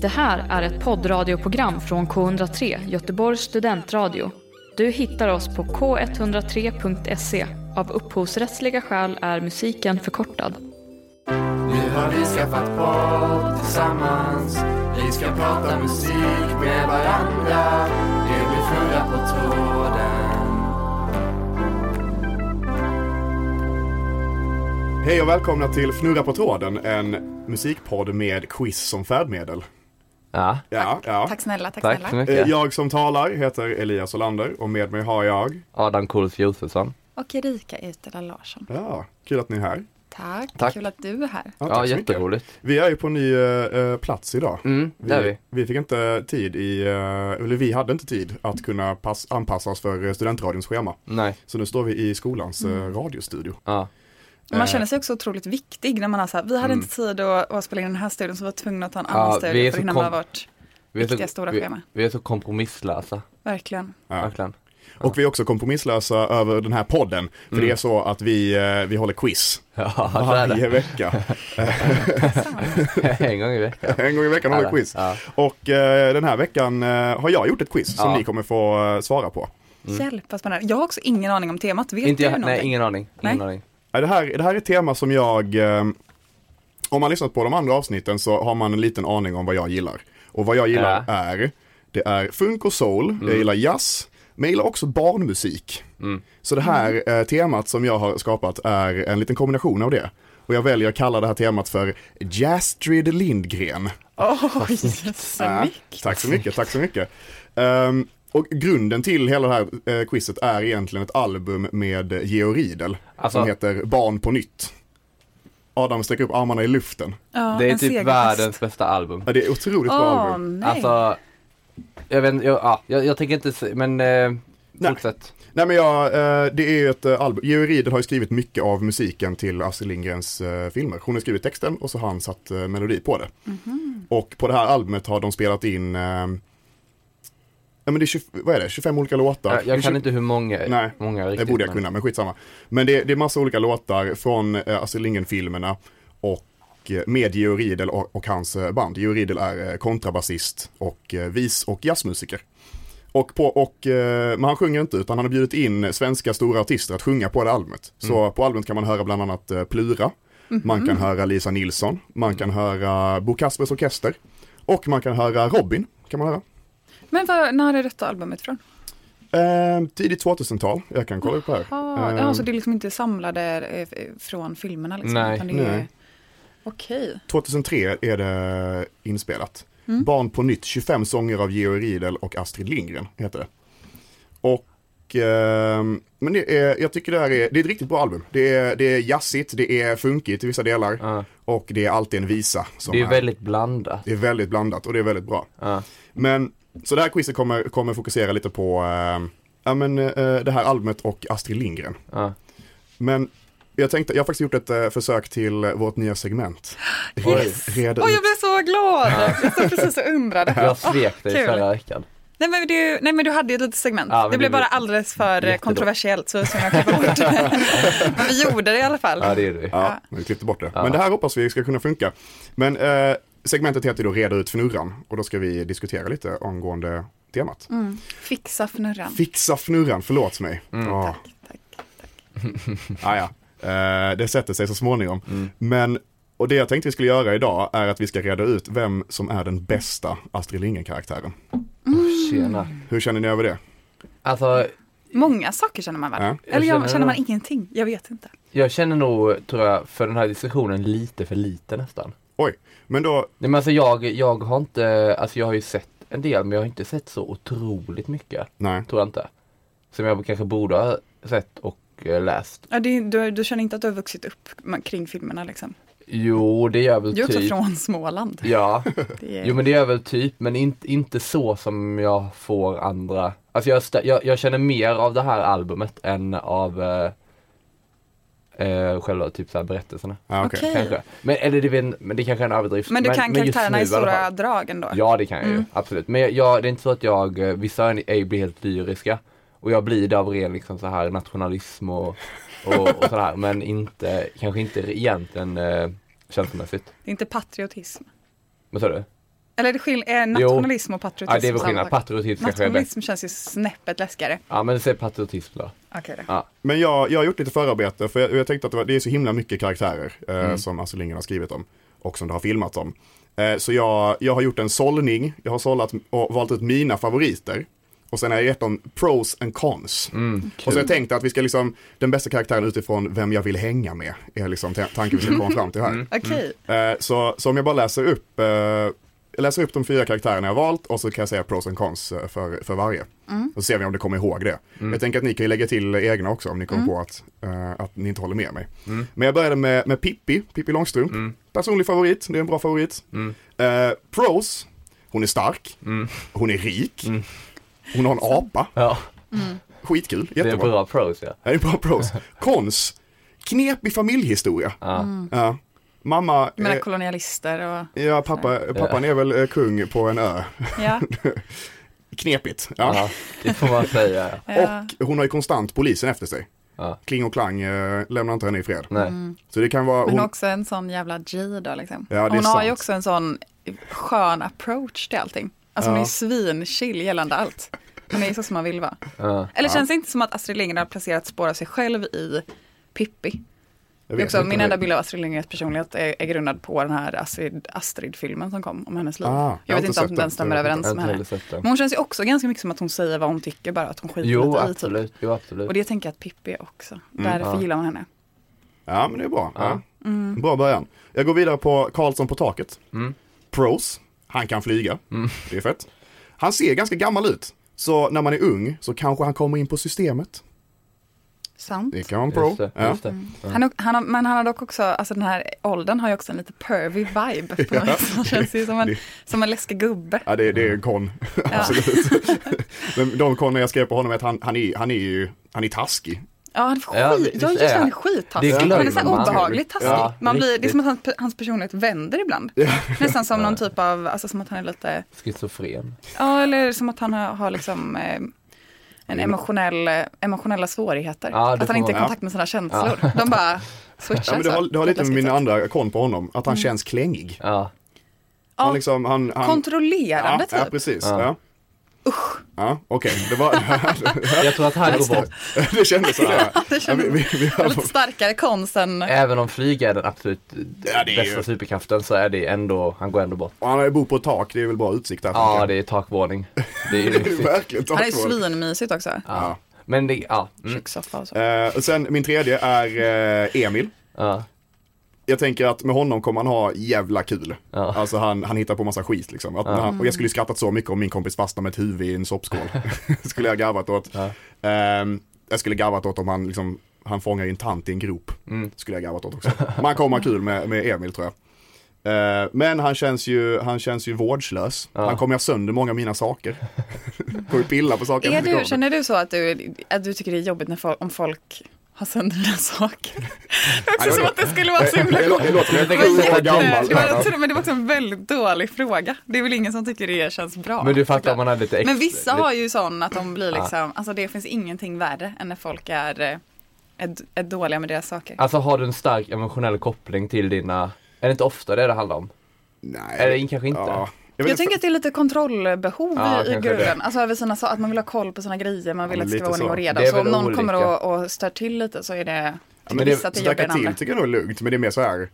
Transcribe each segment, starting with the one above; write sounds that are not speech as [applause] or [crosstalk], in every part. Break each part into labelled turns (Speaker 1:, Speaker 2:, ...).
Speaker 1: Det här är ett poddradioprogram från K103, Göteborgs studentradio. Du hittar oss på k103.se. Av upphovsrättsliga skäl är musiken förkortad.
Speaker 2: Nu har vi skaffat podd tillsammans Vi ska prata musik med varandra Det blir fulla på tråden
Speaker 3: Hej och välkomna till Fnurra på tråden, en musikpodd med quiz som färdmedel.
Speaker 4: Ja,
Speaker 3: Ja, ja.
Speaker 5: Tack snälla, tack,
Speaker 4: tack så
Speaker 5: snälla.
Speaker 3: Eh,
Speaker 4: mycket.
Speaker 3: Jag som talar heter Elias Olander och med mig har jag,
Speaker 4: Adam Kols Josefsson.
Speaker 5: Och Erika Utela Larsson.
Speaker 3: ja, kul att ni är här.
Speaker 5: Tack.
Speaker 4: Tack.
Speaker 5: kul att du är här.
Speaker 3: Ja,
Speaker 4: Ja,
Speaker 3: tack så mycket.
Speaker 4: jätteroligt.
Speaker 3: Vi är ju på ny eh, eh, plats idag.
Speaker 4: Mm, det är vi.
Speaker 3: vi fick inte tid i, eh, eller vi hade inte tid att kunna pass, anpassa oss för eh, studentradions schema.
Speaker 4: Nej,
Speaker 3: Så nu står vi i skolans eh,
Speaker 4: Mm.
Speaker 3: radiostudio.
Speaker 4: ja.
Speaker 5: Men Man känner sig också otroligt viktig när man har så här, vi hade
Speaker 4: Mm.
Speaker 5: inte tid att, att spela in den här studien så vi var tvungna att ta en annan
Speaker 4: Ja, vi är
Speaker 5: studie för
Speaker 4: så
Speaker 5: att hinna
Speaker 4: kom-
Speaker 5: med vårt
Speaker 4: Vi är,
Speaker 5: viktiga
Speaker 4: så,
Speaker 5: stora
Speaker 4: vi,
Speaker 5: schema.
Speaker 4: vi är så kompromisslösa, [laughs]
Speaker 5: Verkligen.
Speaker 3: Ja. [laughs]
Speaker 4: verkligen.
Speaker 3: Och vi är också kompromisslösa över den här podden. För det är så att vi, eh, vi håller quiz
Speaker 4: Mm. Ja, så är
Speaker 3: varje
Speaker 4: det. [laughs]
Speaker 3: vecka.
Speaker 4: Mm. En gång i veckan.
Speaker 3: En gång i veckan
Speaker 4: är
Speaker 3: håller
Speaker 4: det.
Speaker 3: vi quiz.
Speaker 4: Ja.
Speaker 3: Och eh, den här veckan eh, har jag gjort ett quiz som
Speaker 4: Ja.
Speaker 3: ni kommer få eh, svara på.
Speaker 5: Hjälp vad spännande. Jag har också ingen aning om temat. Vet
Speaker 4: Inte
Speaker 5: du
Speaker 4: jag,
Speaker 5: någonting?
Speaker 4: nej, ingen aning. Ingen
Speaker 5: Nej.
Speaker 4: aning.
Speaker 3: Eh, Det här, det här är ett tema som jag, eh, om man lyssnat på de andra avsnitten så har man en liten aning om vad jag gillar. Och vad jag gillar
Speaker 4: Ja.
Speaker 3: är, det är funk och soul, jag gillar jazz, men jag gillar också barnmusik. Så det här eh, temat som jag har skapat är en liten kombination av det. Och jag väljer att kalla det här temat för Jastrid Lindgren.
Speaker 4: [laughs]
Speaker 5: Oj, så
Speaker 3: Ja,
Speaker 5: mycket.
Speaker 3: Tack så mycket, tack så mycket. Ehm, och grunden till hela det här eh, quizet är egentligen ett album med Georg Riedel
Speaker 4: Alltså-
Speaker 3: som heter Barn på nytt. Adam sträcker upp armarna i luften.
Speaker 5: Ja,
Speaker 4: Det är
Speaker 5: en
Speaker 4: typ
Speaker 5: segerfest.
Speaker 4: världens bästa album.
Speaker 3: Ja, det är otroligt bra
Speaker 5: Åh,
Speaker 3: album.
Speaker 5: nej.
Speaker 4: Alltså, jag vet inte, jag, ja, jag, jag tänker inte, se- men eh,
Speaker 3: Nej.
Speaker 4: fortsätt.
Speaker 3: Nej men jag, eh, det är ju ett eh, album, Georg Riedel har ju skrivit mycket av musiken till Astrid Lindgrens eh, filmer. Hon har skrivit texten och så har han satt eh, melodi på det. Och på det här albumet har de spelat in, eh, ja men det är, 20, vad är det, 25 olika låtar.
Speaker 4: Jag, jag
Speaker 3: Det är
Speaker 4: kan inte hur många,
Speaker 3: Nej,
Speaker 4: många
Speaker 3: Det
Speaker 4: riktigt.
Speaker 3: borde jag
Speaker 4: men-
Speaker 3: kunna, men skitsamma. Men det, det är massa olika låtar från eh, Astrid Lindgren-filmerna och eh, med Georg Riedel och, och hans eh, band. Georg Riedel är eh, kontrabasist och eh, vis och jazzmusiker. Och på, och, eh, men han sjunger inte, utan han har bjudit in svenska stora artister att sjunga på det albumet. Så
Speaker 4: Mm.
Speaker 3: på albumet kan man höra bland annat eh, Plura,
Speaker 5: Mhm.
Speaker 3: man kan höra Lisa Nilsson, man kan höra Bo Kaspers Orkester och man kan höra Robin. Kan man höra.
Speaker 5: Men vad, när är detta albumet från?
Speaker 3: Eh, tidigt 2000-tal, jag kan kolla upp här.
Speaker 5: Ja,
Speaker 3: Eh,
Speaker 5: ja, så det är liksom inte samlade eh, f- från filmerna liksom?
Speaker 4: Nej.
Speaker 5: utan det är-
Speaker 3: Nej.
Speaker 5: Okej.
Speaker 3: 2003 är det inspelat.
Speaker 5: Mm.
Speaker 3: Barn på nytt, 25 sånger av Georg Riedel och Astrid Lindgren heter det. Och, ehm, men det är, jag tycker det här är, det är ett riktigt bra album. Det är, det är jazzigt, det är funkigt i vissa delar
Speaker 4: Ja.
Speaker 3: och det är alltid en visa. Som
Speaker 4: Det är väldigt blandat.
Speaker 3: det är väldigt blandat och det är väldigt bra.
Speaker 4: Ja.
Speaker 3: Men, så det här quizet kommer, kommer fokusera lite på ehm, ja, men, eh, det här albumet och Astrid Lindgren.
Speaker 4: Ja.
Speaker 3: Men jag tänkte, jag har faktiskt gjort ett eh, försök till eh, vårt nya segment.
Speaker 5: [gasps] Yes!
Speaker 3: Reda
Speaker 5: Åh,
Speaker 3: ut
Speaker 5: jag blev så
Speaker 4: [laughs]
Speaker 5: glad! Jag stod precis och undrade.
Speaker 4: Jag svek dig
Speaker 5: Ah, kul.
Speaker 4: förra veckan.
Speaker 5: Nej men, du, nej men du hade ju ett litet segment.
Speaker 4: Ja, men
Speaker 5: det
Speaker 4: det
Speaker 5: blev bara
Speaker 4: blev-
Speaker 5: alldeles för
Speaker 4: Jättebra.
Speaker 5: kontroversiellt så som jag klippa
Speaker 4: [laughs]
Speaker 5: bort [laughs] det. Men vi gjorde det i alla fall.
Speaker 4: Ja, det är du.
Speaker 3: Ja, men vi klippte bort det. Men det här hoppas vi ska kunna funka. Men eh, segmentet heter då Reda ut fnurran och då ska vi diskutera lite angående temat.
Speaker 5: Fixa fnurran.
Speaker 3: Fixa fnurran, förlåt mig. Ja.
Speaker 5: Tack, tack.
Speaker 3: Ah, ja. eh, det sätter sig så småningom. Men, och det jag tänkte vi skulle göra idag är att vi ska reda ut vem som är den bästa Astrid Lindgren-karaktären.
Speaker 4: Tjena.
Speaker 5: Mm.
Speaker 3: Hur känner ni över det?
Speaker 4: Alltså,
Speaker 5: Många saker känner man väl?
Speaker 3: Ja,
Speaker 4: jag
Speaker 5: Eller jag,
Speaker 4: känner
Speaker 5: känner,
Speaker 4: det.
Speaker 5: man ingenting? Jag vet inte.
Speaker 4: jag känner nog, tror jag, för den här diskussionen lite för lite nästan.
Speaker 3: Oj, men då,
Speaker 4: Nej men alltså jag, jag har inte, alltså jag har ju sett en del men jag har inte sett så otroligt mycket.
Speaker 3: nej.
Speaker 4: Tror jag inte. Som jag kanske borde ha sett och eh, läst.
Speaker 5: Ja, det, är- du, du känner inte att du har vuxit upp ma- kring filmerna liksom?
Speaker 4: Jo det gör väl
Speaker 5: Du är också
Speaker 4: typ.
Speaker 5: från Småland.
Speaker 4: Ja.
Speaker 5: [laughs] Det är,
Speaker 4: Jo men det gör väl typ men inte, inte så som jag får andra. Alltså jag, stä- jag, jag känner mer av det här albumet än av eh, eh, själva typ så här berättelserna.
Speaker 3: Ah, okej.
Speaker 5: Okej.
Speaker 4: Kanske. Men, eller det, är väl- men det kanske är en överdrift.
Speaker 5: men du kan
Speaker 4: just
Speaker 5: karaktärerna
Speaker 4: nu
Speaker 5: i
Speaker 4: alla fall.
Speaker 5: stora drag ändå?
Speaker 4: Ja det kan jag ju,
Speaker 5: Mm.
Speaker 4: absolut. Men jag, jag, det är inte så att jag, eh, vissa är ju blir helt lyriska och jag blir det av ren liksom så här nationalism och, och, och sådär men inte, kanske inte egentligen eh, känslomässigt.
Speaker 5: Det är inte patriotism?
Speaker 4: Vad sa du?
Speaker 5: Eller är det skill- är nationalism och patriotism
Speaker 4: Ja, det är väl
Speaker 5: samma
Speaker 4: skillnad.
Speaker 5: sak?
Speaker 4: Patriotism kanske är bäst.
Speaker 5: Nationalism känns ju snäppet läskigare.
Speaker 4: Ja, men säg patriotism då.
Speaker 5: Okej då.
Speaker 4: Ja.
Speaker 3: Men jag, jag har gjort lite förarbete för jag, jag tänkte att det, var, det är så himla mycket karaktärer eh, som Astrid Lindgren har skrivit om och som det har filmats om. Eh, så jag, jag har gjort en sållning, jag har sållat och valt ut mina favoriter. Och sen har jag gett dem pros and cons. och så jag tänkte att vi ska liksom, den bästa karaktären utifrån vem jag vill hänga med, är liksom ta- tanken vi ska komma fram till här.
Speaker 4: Mm.
Speaker 5: Okej,
Speaker 3: Eh, så, så om jag bara läser upp, eh, jag läser upp de fyra karaktärerna jag har valt och så kan jag säga pros and cons eh, för, för varje. Och så ser vi om du kommer ihåg det.
Speaker 4: Mm.
Speaker 3: Jag tänker att ni kan ju lägga till egna också om ni kommer på att, eh, att ni inte håller med mig.
Speaker 4: Mm.
Speaker 3: Men jag började med, med Pippi, Pippi Långstrump. Personlig favorit, det är en bra favorit.
Speaker 4: Mm.
Speaker 3: Eh, pros, hon är stark, hon är rik,
Speaker 4: Mm.
Speaker 3: hon har en apa,
Speaker 4: Ja,
Speaker 3: skitkul,
Speaker 4: det är
Speaker 3: jättebra.
Speaker 4: bra pros ja.
Speaker 3: Det är bra
Speaker 4: [laughs]
Speaker 3: pros. Cons, knepig familjehistoria.
Speaker 4: ja.
Speaker 5: Mm.
Speaker 3: Ja. mamma,
Speaker 5: jag menar
Speaker 3: eh,
Speaker 5: kolonialister
Speaker 3: [laughs]
Speaker 5: och
Speaker 3: Ja, pappa, pappan är väl eh, kung på en ö.
Speaker 5: ja.
Speaker 3: Knepigt. Ja.
Speaker 4: ja. Det får man säga. Ja.
Speaker 5: ja.
Speaker 3: Och hon har ju konstant polisen efter sig.
Speaker 4: Ja.
Speaker 3: Kling och Klang eh, lämnar inte henne i fred.
Speaker 4: Nej.
Speaker 5: Mm.
Speaker 3: Så det kan vara
Speaker 5: Men
Speaker 3: hon...
Speaker 5: också en sån jävla G då liksom.
Speaker 3: Ja, det är
Speaker 5: hon har ju
Speaker 3: sant.
Speaker 5: också en sån skön approach till allting. Alltså hon är
Speaker 3: Ja.
Speaker 5: ju svinchill gällande allt. Hon är ju så som man vill vara.
Speaker 4: Ja.
Speaker 5: Eller känns det inte som att Astrid Lindgren har placerat spår av sig själv i Pippi?
Speaker 3: Jag
Speaker 5: Det är också,
Speaker 3: inte
Speaker 5: min
Speaker 3: om
Speaker 5: enda
Speaker 3: det-
Speaker 5: bild av Astrid Lindgrens personlighet är, är grundad på den här Astrid, Astrid-filmen som kom om hennes liv.
Speaker 3: Ah, jag har
Speaker 5: jag vet
Speaker 3: inte
Speaker 5: inte om
Speaker 3: sett
Speaker 5: den,
Speaker 3: den, så
Speaker 5: stämmer
Speaker 3: jag vet
Speaker 5: överens
Speaker 4: Jag har inte
Speaker 5: med
Speaker 4: heller
Speaker 5: henne.
Speaker 4: sett den.
Speaker 5: Men hon känns ju också ganska mycket som att hon säger vad hon tycker, bara att hon skiter
Speaker 4: Jo,
Speaker 5: lite i typ.
Speaker 4: absolut. Jo, absolut.
Speaker 5: Och det tänker jag att Pippi är också.
Speaker 3: Mm,
Speaker 5: Därför
Speaker 4: Ja.
Speaker 5: gillar man henne.
Speaker 3: Ja, men det är bra. Ja.
Speaker 5: Mm.
Speaker 3: Bra början. Jag går vidare på Karlsson på taket.
Speaker 4: Mm.
Speaker 3: Pros, han kan flyga. Det är fett. Han ser ganska gammal ut. Så när man är ung så kanske han kommer in på systemet.
Speaker 5: Sant.
Speaker 3: Det kan vara en pro.
Speaker 4: Just det,
Speaker 3: ja.
Speaker 4: just det. Ja.
Speaker 5: Mm. Han, har- han, har- men han har dock också, alltså den här åldern har ju också en lite pervy vibe. På något sätt. Han känns ju som en,
Speaker 3: det-
Speaker 5: som en läskig gubbe.
Speaker 3: Ja, det,
Speaker 4: Mm.
Speaker 3: det är en kon. [laughs] Absolut. Men de koner jag skrev på honom är att han, han, är, han är ju, han är taskig.
Speaker 5: Ja, han är skit,
Speaker 4: Ja,
Speaker 5: ja,
Speaker 4: visst
Speaker 5: just
Speaker 4: är
Speaker 5: det, han är
Speaker 4: han.
Speaker 5: skittaskig.
Speaker 4: Det
Speaker 5: Han
Speaker 4: glömmer
Speaker 5: är så här
Speaker 4: man.
Speaker 5: obehagligt taskig.
Speaker 4: Ja,
Speaker 5: man blir, det är
Speaker 4: riktigt.
Speaker 5: som att han, hans personlighet vänder ibland. Nästan som någon typ av, alltså som att han är lite,
Speaker 4: Schizofren.
Speaker 5: ja eller som att han har, har liksom eh, en emotionell, eh, emotionella svårigheter.
Speaker 4: Ja, det får
Speaker 5: att han inte är
Speaker 4: man-
Speaker 5: i kontakt med sina känslor. De bara switchar
Speaker 3: Ja, men det
Speaker 5: så.
Speaker 3: har, det har lite med
Speaker 5: Läskigt
Speaker 3: min
Speaker 5: sätt.
Speaker 3: andra kon på honom, att han känns klängig.
Speaker 4: Ja.
Speaker 5: Mm. Ja,
Speaker 3: Han liksom, han... han
Speaker 5: kontrollerande
Speaker 3: ja, ja,
Speaker 5: typ.
Speaker 3: precis.
Speaker 4: Ja.
Speaker 3: Ja. Usch. Ja, okej, det var... [laughs]
Speaker 4: Jag tror att han går bort.
Speaker 3: det kändes sådär.
Speaker 5: det
Speaker 3: Ja, vi,
Speaker 5: känns
Speaker 3: vi, vi har,
Speaker 5: lite starkare konst än
Speaker 4: Även om flyga är den absolut
Speaker 3: Ja, det är
Speaker 4: bästa
Speaker 3: ju-
Speaker 4: superkraften så är det ändå, han går ändå bort.
Speaker 3: och han bor på ett tak, det är väl bra utsikt där.
Speaker 4: Ja, det är takvåning. Det är
Speaker 3: [laughs]
Speaker 4: ju
Speaker 3: det är
Speaker 4: lyxigt.
Speaker 3: verkligen
Speaker 5: Han är ju
Speaker 3: takvård.
Speaker 5: svinmysigt också.
Speaker 4: Ja. Men det, ja. Mm.
Speaker 5: Kökssoffa och så.
Speaker 3: Eh, och sen min tredje är eh, Emil.
Speaker 4: ja.
Speaker 3: Jag tänker att med honom kommer han ha jävla kul.
Speaker 4: Ja. Mm.
Speaker 3: Alltså han, han hittar på massa skit liksom. Att, när han, och jag skulle ju skrattat så mycket om min kompis fastnade med ett huvud i en
Speaker 4: [laughs]
Speaker 3: soppskål. [laughs] skulle jag garvat åt. Ehm, jag skulle garvat åt om han liksom, han fångar ju en tant i en grop.
Speaker 4: Mm.
Speaker 3: Skulle jag garvat åt också. Men han kommer ha kul med, med Emil tror jag. Ehm, men han känns ju, han känns ju vårdslös. Han kommer ha sönder många av mina saker. [laughs] kommer pilla på saker.
Speaker 5: Är
Speaker 3: jag inte
Speaker 5: du,
Speaker 3: tycker om.
Speaker 5: känner du så att du, att du tycker det är jobbigt när folk, om folk har sönder dina saker? Det är också
Speaker 3: det var-
Speaker 5: som att det skulle vara så himla
Speaker 3: [laughs] Det låter- det låter som jag
Speaker 5: Det
Speaker 3: är
Speaker 5: var
Speaker 3: sju år
Speaker 5: jätte-
Speaker 3: gammal.
Speaker 5: det var- jag tror- Men det var också en väldigt dålig fråga. Det är väl ingen som tycker det känns bra.
Speaker 4: Men du fattar
Speaker 5: såklart.
Speaker 4: om man har lite extra.
Speaker 5: Men vissa har ju sån att de blir liksom, alltså det finns ingenting värre än när folk är, eh, är, är dåliga med deras saker.
Speaker 4: Alltså har du en stark emotionell koppling till dina, är det inte ofta det det handlar om?
Speaker 3: Nej.
Speaker 4: Eller kanske inte.
Speaker 3: Ja.
Speaker 5: Jag,
Speaker 3: vet inte,
Speaker 5: tänker att det är lite kontrollbehov
Speaker 4: Ja,
Speaker 5: i, i
Speaker 4: kanske
Speaker 5: grunden. Alltså över sina saker, att man vill ha koll på sina grejer, man vill
Speaker 3: Ja,
Speaker 5: att det ska
Speaker 3: lite
Speaker 5: vara ordning
Speaker 3: så.
Speaker 5: och reda.
Speaker 4: Det är
Speaker 5: Så om
Speaker 4: väl
Speaker 5: någon
Speaker 4: olika.
Speaker 5: kommer och, och stör till lite så är det,
Speaker 3: Ja,
Speaker 5: det
Speaker 3: men
Speaker 5: vissa att
Speaker 3: det,
Speaker 5: det är jobbigare
Speaker 3: stöka
Speaker 5: än andra.
Speaker 3: till tycker jag nog är lugnt, men det är mer så här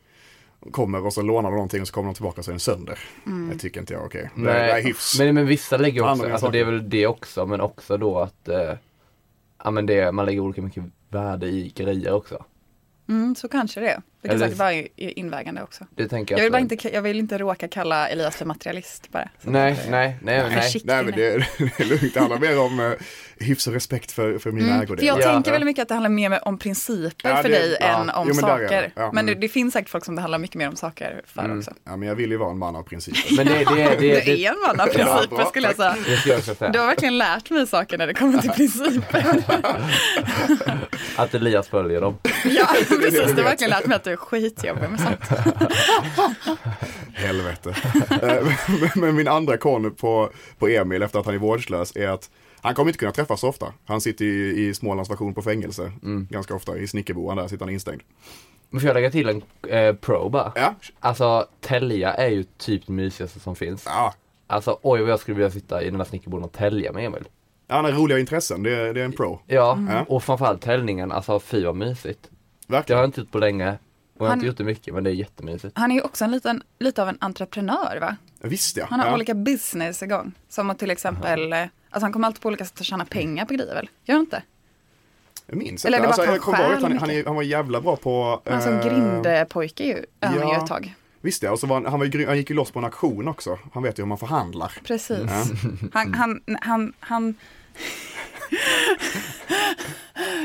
Speaker 3: kommer och så lånar de någonting och så kommer de tillbaka och så är den sönder.
Speaker 5: Mm.
Speaker 3: Det tycker inte jag är okej. Det, är- det är hyfs.
Speaker 4: men, men vissa lägger
Speaker 3: Andra
Speaker 4: också, alltså
Speaker 3: saker.
Speaker 4: det är väl det också, men också då att eh, ja, men det, man lägger olika mycket värde i grejer också.
Speaker 5: Mm, så kanske det är. Det kan
Speaker 4: Eller-
Speaker 5: säkert vara i- i- invägande också.
Speaker 4: Det tänker jag,
Speaker 5: Jag vill,
Speaker 4: att-
Speaker 5: bara inte, jag vill inte råka kalla Elias för materialist bara. Så.
Speaker 4: Nej, nej, nej, nej.
Speaker 5: shit.
Speaker 3: Nej men det, [laughs] det är lugnt, det handlar mer om eh, hyfs och respekt för, för mina
Speaker 5: Mm, för
Speaker 3: ägodelar.
Speaker 5: jag
Speaker 4: Ja.
Speaker 5: tänker väldigt mycket att det handlar mer om principer
Speaker 3: Ja,
Speaker 5: för
Speaker 3: det-
Speaker 5: dig
Speaker 3: ja.
Speaker 5: än om
Speaker 3: Jo, men där är det.
Speaker 5: saker.
Speaker 3: Ja.
Speaker 5: Men det, det finns säkert folk som det handlar mycket mer om saker för också.
Speaker 3: Ja men jag vill ju vara en man av principer.
Speaker 4: Men det, det,
Speaker 5: [laughs]
Speaker 4: det,
Speaker 5: Du
Speaker 4: det, det,
Speaker 5: är en man av principer
Speaker 3: bra,
Speaker 5: skulle jag säga.
Speaker 4: det ska jag också säga.
Speaker 5: Du har verkligen lärt mig saker när det kommer till principer.
Speaker 4: Att Elias följer dem.
Speaker 3: [laughs]
Speaker 5: Ja, precis. Du har verkligen lärt mig att du är skitjobbig med sånt.
Speaker 3: Helvete. [laughs] Eh, men, men min andra kon på, på Emil efter att han är vårdslös är att han kommer inte kunna träffas så
Speaker 4: Mm.
Speaker 3: ofta. Han sitter ju i Smålands station på fängelse ganska ofta. I Snickerboan där sitter han instängd.
Speaker 4: Men får jag lägga till en eh, pro bara?
Speaker 3: Ja,
Speaker 4: Alltså Telja är ju typ det mysigaste som finns.
Speaker 3: ja.
Speaker 4: Alltså oj vad jag skulle vilja sitta i den där snickerboden och tälja med Emil.
Speaker 3: ja han har roliga intressen, det, är- det är en pro.
Speaker 4: Ja,
Speaker 3: Mm.
Speaker 4: och framförallt täljningen, alltså fy vad mysigt. Det har
Speaker 3: Verkligen.
Speaker 4: jag inte gjort på länge. Och jag har
Speaker 5: Han-
Speaker 4: inte gjort det mycket men det är jättemysigt.
Speaker 5: Han är ju också en liten, lite av en entreprenör va?
Speaker 3: Visst ja.
Speaker 5: Han har
Speaker 3: ja.
Speaker 5: olika business igång. Som att till exempel, eh, alltså han kommer alltid på olika sätt att tjäna pengar på grejer väl? Gör han inte?
Speaker 3: Jag minns
Speaker 5: Eller
Speaker 3: inte.
Speaker 5: det
Speaker 3: Alltså,
Speaker 5: var att
Speaker 3: jag
Speaker 5: han
Speaker 3: kommer ihåg
Speaker 5: stjäl
Speaker 3: att han,
Speaker 5: mycket.
Speaker 3: han, är- han var jävla bra på...
Speaker 5: Han som
Speaker 3: eh,
Speaker 5: grindpojke ju, är han ju
Speaker 3: ja.
Speaker 5: ett tag.
Speaker 3: Visst ja, och så var han, han, var ju, grym- han gick ju loss på en auktion också. Han vet ju hur man förhandlar.
Speaker 5: Precis.
Speaker 3: Ja.
Speaker 5: Han, han, han, han...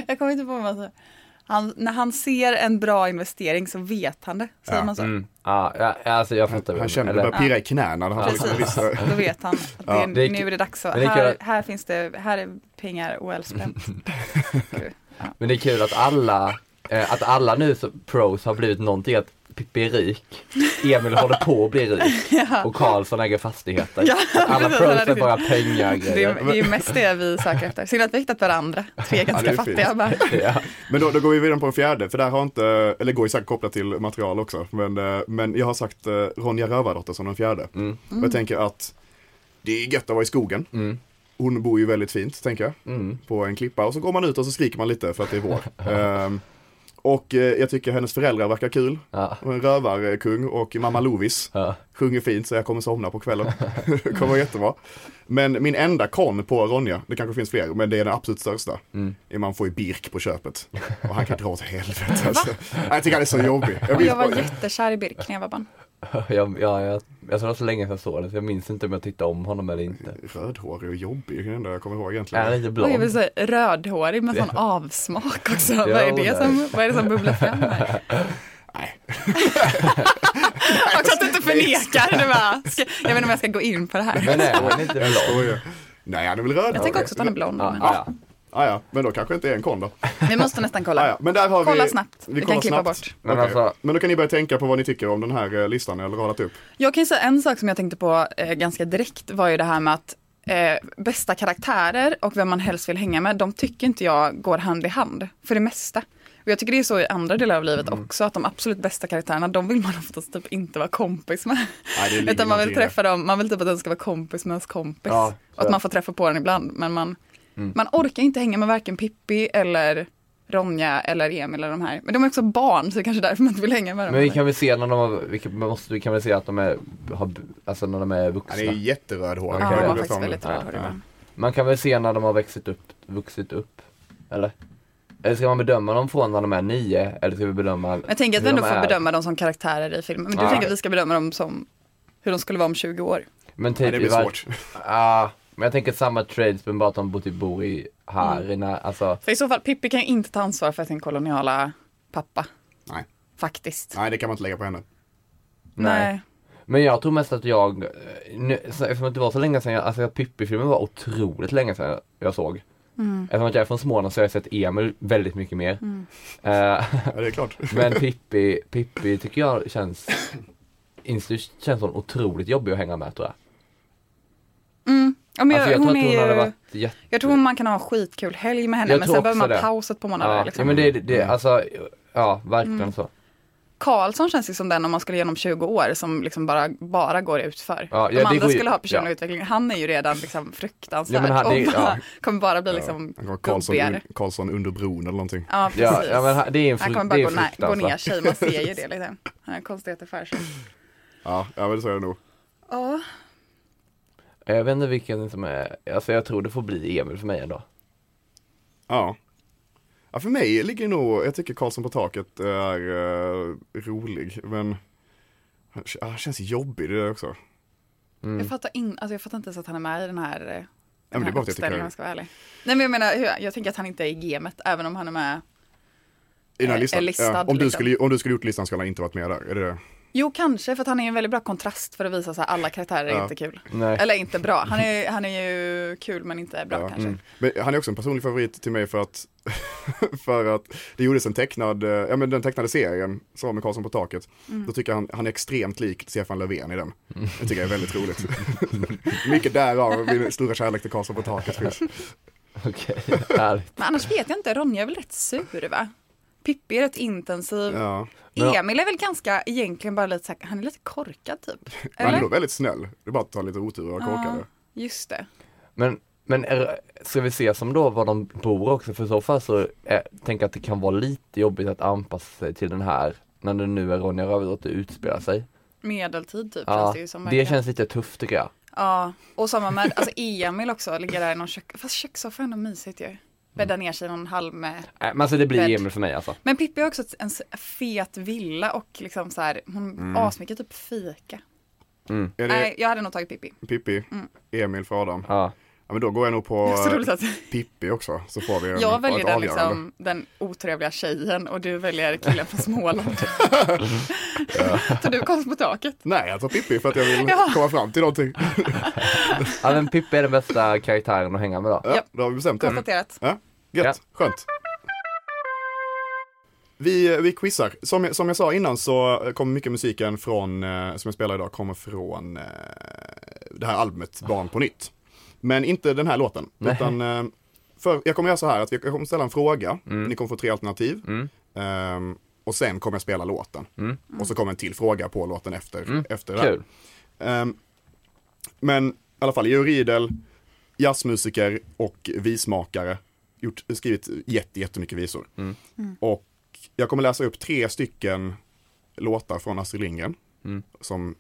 Speaker 5: jag kommer inte på vad han säger. Han, när han ser en bra investering så vet han det, säger
Speaker 3: Ja.
Speaker 5: man så?
Speaker 4: Mm. Ja, ja, alltså jag fattar
Speaker 3: Han
Speaker 4: väl.
Speaker 3: kände det
Speaker 4: Eller-
Speaker 3: började pirra i knäna. när Han liksom
Speaker 5: Precis,
Speaker 3: visste.
Speaker 5: då vet han att det är,
Speaker 4: det är-
Speaker 5: nu är det dags. Så
Speaker 4: men det är
Speaker 5: här,
Speaker 4: kul.
Speaker 5: här finns det, här är pengar well spent.
Speaker 4: [laughs] Men det är kul att alla, eh, att alla nu så, pros har blivit någonting att Pippi är rik, Emil håller på att bli
Speaker 5: [laughs]
Speaker 4: rik och Karlsson äger fastigheter.
Speaker 5: Ja,
Speaker 4: Att alla
Speaker 5: precis,
Speaker 4: pros
Speaker 5: det är
Speaker 4: är
Speaker 5: det.
Speaker 4: bara
Speaker 5: Det är,
Speaker 4: pengagrejer.
Speaker 5: det är ju mest det vi söker efter. Synd att vi har hittat varandra, tre ganska
Speaker 3: det är
Speaker 5: fattiga bara.
Speaker 4: Ja.
Speaker 3: Men då, då går vi vidare på den fjärde, för där har inte, eller går ju säkert kopplat till material också, men, eh, men jag har sagt eh, Ronja Rövardotter som den fjärde.
Speaker 4: Mm.
Speaker 3: Och jag tänker att det är gött att vara i skogen.
Speaker 4: Mm.
Speaker 3: Hon bor ju väldigt fint, tänker jag,
Speaker 4: Mm.
Speaker 3: på en klippa. Och så går man ut och så skriker man lite för att det är vår.
Speaker 4: [laughs]
Speaker 3: Ehm, och eh, jag tycker hennes föräldrar verkar kul.
Speaker 4: Ja.
Speaker 3: Och en rövarkung och mamma Lovis
Speaker 4: Ja.
Speaker 3: sjunger fint så jag kommer somna på
Speaker 4: [laughs]
Speaker 3: kvällen. det kommer vara jättebra. Men min enda kon på Ronja, det kanske finns fler, men det är den absolut största.
Speaker 4: Mm.
Speaker 3: är Man får ju Birk på köpet. Och han kan dra åt
Speaker 4: [laughs]
Speaker 3: helvete alltså. Nej, Jag tycker han är så jobbig. Jag
Speaker 5: Och
Speaker 3: vill
Speaker 5: jag var
Speaker 3: bara-
Speaker 5: jättekär i Birk när jag var barn.
Speaker 4: [laughs] Jag, jag, jag, alltså det var så länge sedan jag såg det så jag minns inte om jag tittade om honom eller inte.
Speaker 3: Rödhårig och jobbig, det är det enda jag kommer ihåg
Speaker 4: Är
Speaker 3: egentligen.
Speaker 4: han inte
Speaker 5: Och jag vill
Speaker 4: blond?
Speaker 5: säga rödhårig med sån avsmak också. Vad är
Speaker 4: hon är.
Speaker 5: det som, vad är det som bubblar fram här?
Speaker 3: Nej.
Speaker 5: Också att du inte förnekar. Du bara, ska, jag vet inte om jag ska gå in på det
Speaker 4: Men
Speaker 5: här.
Speaker 4: är han
Speaker 3: [laughs]
Speaker 4: inte
Speaker 3: Jag
Speaker 4: blond?
Speaker 3: skojar. Nej, han är väl rödhårig.
Speaker 5: Jag tänker också att han är blond.
Speaker 4: Ja,
Speaker 5: men-
Speaker 4: ja.
Speaker 3: Ah, ja, men då kanske inte är en kon då.
Speaker 5: Vi måste nästan
Speaker 3: Ah,
Speaker 5: kolla.
Speaker 3: ja. Men där har vi...
Speaker 5: Kolla snabbt. Vi kan
Speaker 3: kollar
Speaker 5: klippa
Speaker 3: snabbt.
Speaker 5: bort.
Speaker 4: Men
Speaker 3: Okej.
Speaker 4: alltså-
Speaker 3: men då kan ni börja tänka på vad ni tycker om den här eh, listan jag har radat upp.
Speaker 5: Jag kan ju säga en sak som jag tänkte på eh, ganska direkt var ju det här med att eh, bästa karaktärer och vem man helst vill hänga med, de tycker inte jag går hand i hand för det mesta. Och jag tycker det är så i andra delar av livet
Speaker 4: Mm.
Speaker 5: också, att de absolut bästa karaktärerna, de vill man oftast typ inte vara kompis med.
Speaker 3: Nej, det ligger
Speaker 5: [laughs] Utan man
Speaker 3: någonting i
Speaker 5: vill
Speaker 3: det.
Speaker 5: träffa dem, man vill typ att den ska vara kompis med ens kompis.
Speaker 4: Ja,
Speaker 5: och att
Speaker 4: så. Mm.
Speaker 5: man får träffa på den ibland, men man, man orkar inte hänga med varken Pippi eller Ronja eller Emil eller de här. Men de är också barn, så det är kanske därför man inte vill hänga med dem.
Speaker 4: Men vi kan väl se när de har, vi kan, man måste, vi kan väl se att de är, har, alltså när de är
Speaker 3: Han är ju
Speaker 4: vuxna.
Speaker 3: jätterödhårig.
Speaker 5: Ja,
Speaker 4: Okej.
Speaker 5: de
Speaker 4: Jag
Speaker 5: har
Speaker 4: vill
Speaker 5: faktiskt väldigt
Speaker 4: Ja,
Speaker 5: rödhårig
Speaker 4: ja.
Speaker 5: man.
Speaker 4: Man kan väl se när de har växt upp, vuxit upp? Eller? Eller ska man bedöma dem från när de är nio? Eller ska vi bedöma
Speaker 5: Jag tänker att vi
Speaker 4: hur
Speaker 5: ändå
Speaker 4: de
Speaker 5: får
Speaker 4: är?
Speaker 5: bedöma dem som karaktärer i filmen. Men du
Speaker 4: Ja.
Speaker 5: tänker att vi ska bedöma dem som hur de skulle vara om 20 år.
Speaker 4: Men
Speaker 3: Nej,
Speaker 4: typ
Speaker 3: det blir
Speaker 4: i var-
Speaker 3: svårt.
Speaker 4: Ja, men jag tänker samma trades men bara att de bor- typ bor i här
Speaker 5: Mm.
Speaker 4: i när, alltså
Speaker 5: För i så fall, Pippi kan ju inte ta ansvar för sin koloniala pappa,
Speaker 3: [laughs] Nej.
Speaker 5: faktiskt.
Speaker 3: Nej, det kan man inte lägga på henne.
Speaker 4: nej. Men jag tror mest att jag, eh, nu, så- eftersom det var så länge sedan, jag, alltså jag- Pippi-filmen var otroligt länge sedan jag såg.
Speaker 5: Mm.
Speaker 4: Eftersom att jag är från Småland så har jag sett Emil väldigt mycket mer. Eh, [laughs]
Speaker 3: Ja, det är [laughs] klart.
Speaker 4: men Pippi, Pippi tycker jag känns, Institut känns hon otroligt jobbig att hänga med tror jag.
Speaker 5: Ja, men
Speaker 4: Alltså jag
Speaker 5: jag,
Speaker 4: tror
Speaker 5: hon
Speaker 4: att hon
Speaker 5: är
Speaker 4: hade
Speaker 5: ju,
Speaker 4: varit jätte...
Speaker 5: jag tror man kan ha en skitkul helg med henne,
Speaker 4: Jag
Speaker 5: men
Speaker 4: tror
Speaker 5: sen behöver
Speaker 4: också
Speaker 5: man
Speaker 4: det.
Speaker 5: pausa ett par månader.
Speaker 4: Ja, ja,
Speaker 5: liksom. Mm.
Speaker 4: men det, det, alltså, ja verkligen så.
Speaker 5: Karlsson känns ju som den om man skulle ge honom 20 år som liksom bara, bara går utför.
Speaker 4: Ja, ja,
Speaker 5: De
Speaker 4: det
Speaker 5: andra
Speaker 4: går ju-
Speaker 5: skulle ha personlig
Speaker 4: ja.
Speaker 5: utveckling. Han är ju redan liksom fruktansvärd
Speaker 4: Ja, men han-
Speaker 5: och
Speaker 4: det-
Speaker 5: bara,
Speaker 4: ja.
Speaker 5: kommer bara bli liksom
Speaker 3: Han kommer Karlsson,
Speaker 5: gubbigare.
Speaker 3: Karlsson under bron eller någonting.
Speaker 5: Ja, precis.
Speaker 4: Ja, ja, men ha- det är en
Speaker 5: Han
Speaker 4: frukt,
Speaker 5: kommer
Speaker 4: det
Speaker 5: bara
Speaker 4: är
Speaker 5: gå,
Speaker 4: frukt,
Speaker 5: nä- gå
Speaker 4: alltså.
Speaker 5: ner sig, man ser
Speaker 4: [laughs]
Speaker 5: ju det liksom. Han har konstigheter för sig.
Speaker 3: Ja, ja men det säger jag nog.
Speaker 5: Ja,
Speaker 4: Jag vet inte vilken som är, alltså jag tror det får bli Emil för mig ändå.
Speaker 3: Ja. ja. För mig ligger nog, jag tycker Karlsson på taket är eh, rolig, men han k- han känns jobbig det där också.
Speaker 4: Mm.
Speaker 5: jag, fattar in, alltså jag fattar inte ens att han är med i den här, eh,
Speaker 3: men
Speaker 5: den
Speaker 3: det är
Speaker 5: här
Speaker 3: bara att jag tycker
Speaker 5: uppställningen om
Speaker 3: det.
Speaker 5: jag ska vara ärlig. Nej men jag menar, hur- jag tänker att han inte är i gamet även om han är med.
Speaker 3: I den här
Speaker 5: Är-
Speaker 3: listan.
Speaker 5: är listad,
Speaker 3: ja. om, du
Speaker 5: liksom.
Speaker 3: skulle, om du skulle gjort listan skulle han inte varit med där, är det det?
Speaker 5: Jo kanske för att han är en väldigt bra kontrast för att visa så här, alla karaktärer är
Speaker 3: Ja.
Speaker 5: inte kul.
Speaker 4: Nej.
Speaker 5: Eller inte bra,
Speaker 4: [laughs]
Speaker 5: han är, han är ju kul men inte bra
Speaker 3: Ja.
Speaker 5: kanske.
Speaker 3: Mm. Men han är också en personlig favorit till mig för att, [laughs] för att det gjordes en tecknad, eh, ja men den tecknade serien, som med Karlsson på taket.
Speaker 5: Mm.
Speaker 3: Då tycker jag han, han är extremt lik Stefan Löfven i den. Det tycker jag är väldigt roligt. [laughs] Mycket därav min stora kärlek till Karlsson på
Speaker 5: [laughs]
Speaker 3: taket finns.
Speaker 4: Okej, [laughs] härligt.
Speaker 5: Men annars vet jag inte, Ronja är väl rätt sur va? Pippi är rätt intensiv.
Speaker 3: Ja.
Speaker 4: Men-
Speaker 5: Emil är väl ganska, egentligen bara lite så här, han är lite korkad
Speaker 3: [laughs]
Speaker 5: typ.
Speaker 3: Han är
Speaker 5: Eller?
Speaker 3: nog väldigt snäll. Det är bara att ta lite otur och vara korkad.
Speaker 5: Just det.
Speaker 4: Men, men är, ska vi se som då var de bor också? För i så fall så är, tänker jag att det kan vara lite jobbigt att anpassa sig till den här när det nu är Ronja Rövardotter det utspelar sig.
Speaker 5: Medeltid typ
Speaker 4: Ja,
Speaker 5: känns det ju som.
Speaker 4: det
Speaker 5: verkligen.
Speaker 4: känns lite tufft tycker jag.
Speaker 5: Ja, och samma med alltså Emil också, ligger där i någon kök, fast kökssoffa är ändå mysigt ju.
Speaker 4: Mm.
Speaker 5: Bädda ner sig i någon halm med.
Speaker 4: Äh, Men alltså det blir
Speaker 5: Men-
Speaker 4: Emil för mig alltså.
Speaker 5: Men Pippi har också ett- en s- fet villa och liksom så här, hon asmycket typ fika.
Speaker 3: Då. Mm. Är det
Speaker 5: Nej, jag hade nog tagit Pippi.
Speaker 3: Pippi, Emil för Adam?
Speaker 4: Ja.
Speaker 3: Ja, men då går jag nog på eh,
Speaker 5: Så roligt att
Speaker 3: Pippi också, så får vi en-
Speaker 5: jag
Speaker 3: ett
Speaker 5: väljer den,
Speaker 3: avgörande.
Speaker 5: liksom, den otrevliga tjejen och du väljer killen från Småland.
Speaker 3: [laughs]
Speaker 5: Så du kom på taket.
Speaker 3: Nej, jag tar Pippi för att jag vill
Speaker 5: [laughs] Ja.
Speaker 3: komma fram till någonting.
Speaker 4: ja men Pippi är den bästa karaktären att hänga med då.
Speaker 3: Ja,
Speaker 5: Japp.
Speaker 3: då har vi bestämt det.
Speaker 5: Konstaterat.
Speaker 3: Ja, gött, skönt. Vi, vi quizar. Som, jag- som jag sa innan så kommer mycket musiken från, eh, som jag spelar idag, kommer från eh, det här albumet Barn på nytt. Men inte den här låten,
Speaker 4: Nej.
Speaker 3: utan eh, för, jag kommer göra så här att jag kommer ställa en fråga, ni kommer få tre alternativ.
Speaker 4: Mm.
Speaker 3: Ehm, och sen kommer jag spela låten.
Speaker 4: Mm.
Speaker 3: Och så kommer en till fråga på låten efter, efter det här.
Speaker 4: Kul.
Speaker 3: Ehm, men i alla fall, Georg Riedel, jazzmusiker och vismakare, gjort, skrivit jätte, jättemycket visor.
Speaker 4: Mm.
Speaker 3: Och jag kommer läsa upp tre stycken låtar från Astrid Lindgren,
Speaker 4: Mm.
Speaker 3: som,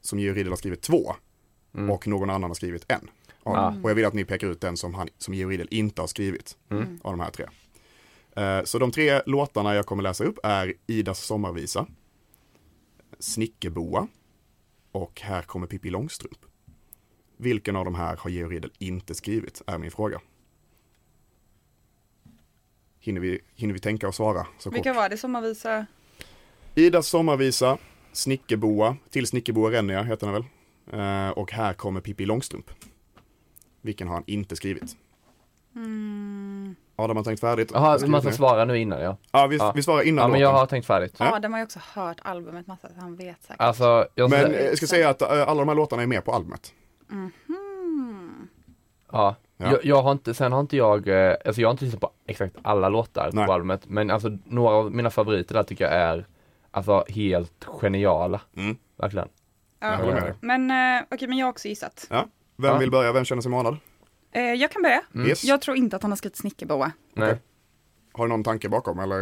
Speaker 3: som Georg Riedel har skrivit två, och någon annan har skrivit en. av dem.
Speaker 4: Mm. Ah.
Speaker 3: Och jag vill att ni pekar ut den som, han, som Georg Riedel inte har skrivit,
Speaker 4: Mm.
Speaker 3: av de här tre. Eh, Så de tre låtarna jag kommer läsa upp är Idas sommarvisa, Snickerboa och Här kommer Pippi Långstrump. Vilken av de här har Georg Riedel inte skrivit, är min fråga. Hinner vi, hinner vi tänka och svara? Så kort?
Speaker 5: Vilka var det som har visat?
Speaker 3: Idas sommarvisa, Snickerboa, Till Snickerboa ränner jag, heter den väl? Eh, Och Här kommer Pippi Långstrump. Vilken har han inte skrivit?
Speaker 5: Mm.
Speaker 3: Adam har tänkt färdigt.
Speaker 4: Jaha,
Speaker 3: Skrivit
Speaker 4: man ska
Speaker 3: ner.
Speaker 4: svara nu innan ja.
Speaker 3: Ja, vi,
Speaker 4: Ja.
Speaker 3: vi svarar innan
Speaker 4: Ja men jag
Speaker 3: låten.
Speaker 4: har tänkt färdigt.
Speaker 3: Ja.
Speaker 5: Adam har ju också hört albumet massa, så han vet säkert.
Speaker 4: Alltså, jag,
Speaker 3: Men eh, jag ska säga att eh, alla de här låtarna är med på albumet.
Speaker 4: ja.
Speaker 3: Ja.
Speaker 4: Jag, jag har inte, sen har inte jag, eh, alltså jag har inte lyssnat på exakt alla låtar
Speaker 3: Nej.
Speaker 4: på albumet, men alltså några av mina favoriter där tycker jag är, alltså helt geniala.
Speaker 3: Mm.
Speaker 4: Verkligen.
Speaker 3: Jag håller med dig.
Speaker 5: Men eh, okej, men jag har också gissat.
Speaker 3: Ja. Vem
Speaker 4: Ja. Mm.
Speaker 3: vill börja? Vem känner sig manad?
Speaker 5: Eh, jag kan börja.
Speaker 3: Yes.
Speaker 5: Jag tror inte att han har skrivit Snickerboa.
Speaker 4: Nej.
Speaker 3: Okej. Har du någon tanke bakom eller?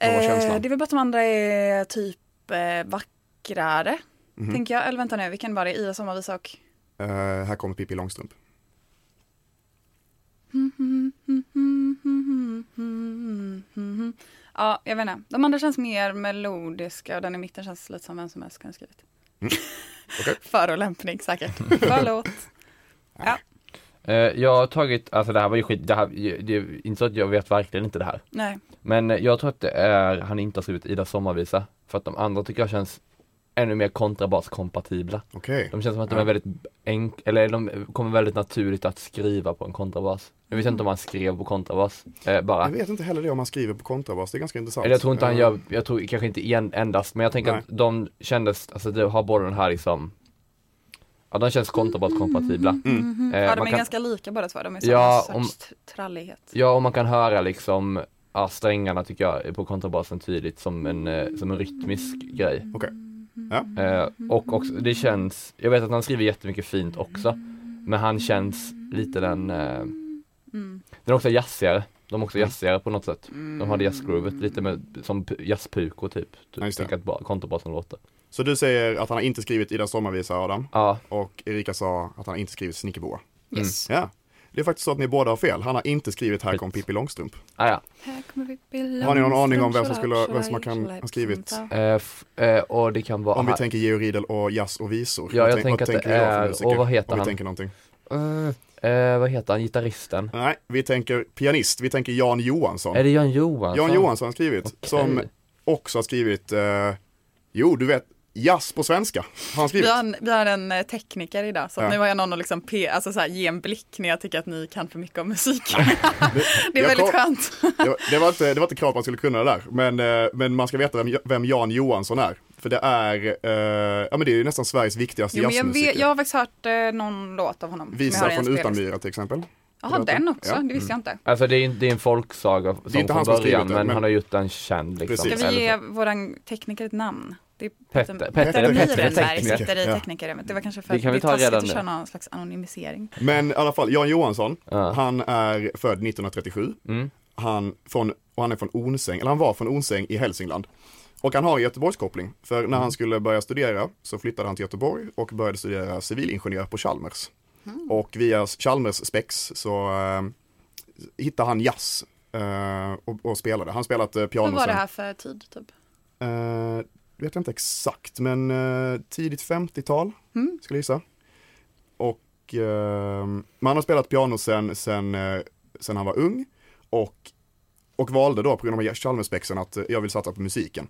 Speaker 3: Vad var
Speaker 5: Eh,
Speaker 3: känslan?
Speaker 5: det är väl bara att de andra är typ eh, vackrare.
Speaker 3: Mhm.
Speaker 5: Tänker jag. Eller vänta nu, vilken var det? Ida sommarvisa och...
Speaker 3: Eh, här kommer Pippi Långstrump.
Speaker 5: Ja, jag vet inte. De andra känns mer melodiska och den i mitten känns lite som vem som helst kan ha skrivit.
Speaker 3: Okej.
Speaker 5: Förolämpning
Speaker 3: [laughs]
Speaker 5: säkert. Förlåt.
Speaker 4: Eh, jag har tagit, alltså det här var ju skit, det här, det är inte så att jag vet verkligen inte det här.
Speaker 5: Nej.
Speaker 4: Men eh, jag tror att det är, han inte har skrivit Ida sommarvisa, för att de andra tycker jag känns ännu mer kontrabaskompatibla.
Speaker 3: Okej.
Speaker 4: De känns som att de är väldigt enk- eller de kommer väldigt naturligt att skriva på en kontrabas. Jag vet inte om han skrev på kontrabas, eh, bara.
Speaker 3: Jag vet inte heller det om han skriver på kontrabas, det är ganska intressant.
Speaker 4: Eller jag tror inte han
Speaker 3: Eh,
Speaker 4: gör, jag tror kanske inte en, endast, men jag tänker
Speaker 3: Nej.
Speaker 4: att de kändes, alltså det har båda den här liksom Ja de känns kontrabaskompatibla.
Speaker 3: Mm.
Speaker 4: Eh,
Speaker 5: Mm-hmm. Ja,
Speaker 4: man
Speaker 5: de är
Speaker 4: kan,
Speaker 5: ganska lika båda två. De är samma
Speaker 4: Ja,
Speaker 5: sorts
Speaker 4: om-
Speaker 5: t- trallighet.
Speaker 4: ja och man kan höra liksom ja, strängarna tycker jag på kontrabasen tydligt som en, eh, som en rytmisk grej.
Speaker 3: Okej. Ja.
Speaker 4: Eh, och också, det känns, jag vet att han skriver jättemycket fint också. Men han känns lite den, eh, den är också jazzigare. De är också
Speaker 3: Mm.
Speaker 4: jazzigare på något sätt. De hade jazzgroovet lite med, som p- jazzpukor typ.
Speaker 3: Ja, just det.
Speaker 4: Tänk att ba- kontrabasen låter.
Speaker 3: Så du säger att han har inte skrivit Ida sommarvisa, Adam.
Speaker 4: Ja,
Speaker 3: Och Erika sa att han har inte skrivit Snickerboa.
Speaker 5: Yes.
Speaker 3: Ja. Det är faktiskt så att ni båda har fel. Han har inte skrivit Här kom
Speaker 4: Skit.
Speaker 3: Pippi Långstrump.
Speaker 4: ah, ja.
Speaker 5: Här kommer vi bilda-
Speaker 3: Har ni någon aning om vem som skulle- vem som kan ha skrivit?
Speaker 4: Eh, f- eh, och det kan vara
Speaker 3: Om vi
Speaker 4: här.
Speaker 3: tänker Georg Riedel och jazz och visor.
Speaker 4: Ja,
Speaker 3: Vad
Speaker 4: jag
Speaker 3: tänk-
Speaker 4: tänker
Speaker 3: vad
Speaker 4: att
Speaker 3: tänker
Speaker 4: det
Speaker 3: vi då för
Speaker 4: är-
Speaker 3: musiker?
Speaker 4: och vad heter
Speaker 3: Om vi
Speaker 4: han?
Speaker 3: tänker någonting.
Speaker 4: eh, vad heter han, gitarristen?
Speaker 3: Nej, vi tänker pianist. Vi tänker Jan Johansson.
Speaker 4: Är det Jan Johansson?
Speaker 3: Jan Johansson har skrivit,
Speaker 4: Okej.
Speaker 3: som också har skrivit, eh, jo du vet, jazz på svenska. Har han skrivit?
Speaker 5: Vi har, en, vi har en eh, tekniker idag så att
Speaker 3: Ja.
Speaker 5: nu har jag någon att liksom pe- alltså så här, ge en blick när jag tycker att ni kan för mycket om musik. [laughs] det är
Speaker 3: jag kom-
Speaker 5: väldigt skönt.
Speaker 3: Det var, det, var inte, det var inte krav att man skulle kunna det där, men, eh, men man ska veta vem, vem Jan Johansson är. För det är, eh, ja men det är ju nästan Sveriges viktigaste
Speaker 5: Jo, men jag,
Speaker 3: jazzmusiker.
Speaker 5: vet, jag har faktiskt hört eh, någon låt av honom. som jag har
Speaker 3: Visa
Speaker 5: i en
Speaker 3: från
Speaker 5: spellista.
Speaker 3: Utanmyra till exempel.
Speaker 5: Jaha, den också?
Speaker 3: Ja. Mm.
Speaker 5: Det visste jag inte.
Speaker 4: Alltså det är, det är en folksaga som
Speaker 3: inte han
Speaker 4: från
Speaker 3: som skrivit
Speaker 4: början
Speaker 3: den,
Speaker 4: men,
Speaker 3: men-
Speaker 4: han har gjort den känd liksom.
Speaker 3: Precis.
Speaker 5: Ska vi
Speaker 4: Eller
Speaker 5: ge
Speaker 4: så-
Speaker 5: våran tekniker ett namn? Det är
Speaker 4: Petter-
Speaker 5: Petter,
Speaker 4: Petter-
Speaker 5: Petter
Speaker 3: Petter
Speaker 5: Myhrenberg
Speaker 3: tekniker.
Speaker 5: sitter i
Speaker 3: Ja.
Speaker 5: teknikerrummet. Det var kanske för
Speaker 6: Det
Speaker 5: att det
Speaker 6: kan vi
Speaker 5: är
Speaker 6: ta
Speaker 5: taskigt
Speaker 6: redan
Speaker 5: att
Speaker 6: nu.
Speaker 5: köra någon slags anonymisering.
Speaker 3: Men i alla fall, Jan Johansson,
Speaker 4: Ja.
Speaker 3: han är född 1937.
Speaker 4: Mm.
Speaker 3: Han, från, och han är från Onsäng, eller han var från Onsäng i Hälsingland. Och han har Göteborgskoppling, för när han skulle börja studera så flyttade han till Göteborg och började studera civilingenjör på Chalmers.
Speaker 5: Hmm.
Speaker 3: Och via Chalmers spex så eh, hittade han jazz eh, och, och spelade. Han spelat eh, piano
Speaker 5: Vad var det
Speaker 3: sen.
Speaker 5: här för tid typ?
Speaker 3: Eh, vet jag inte exakt, men eh, tidigt 50-tal
Speaker 5: Mm.
Speaker 3: skulle jag gissa. Och eh, man har spelat piano sen, sen, eh, sen han var ung och, och valde då på grund av Chalmerspexen att eh, jag vill satsa på musiken.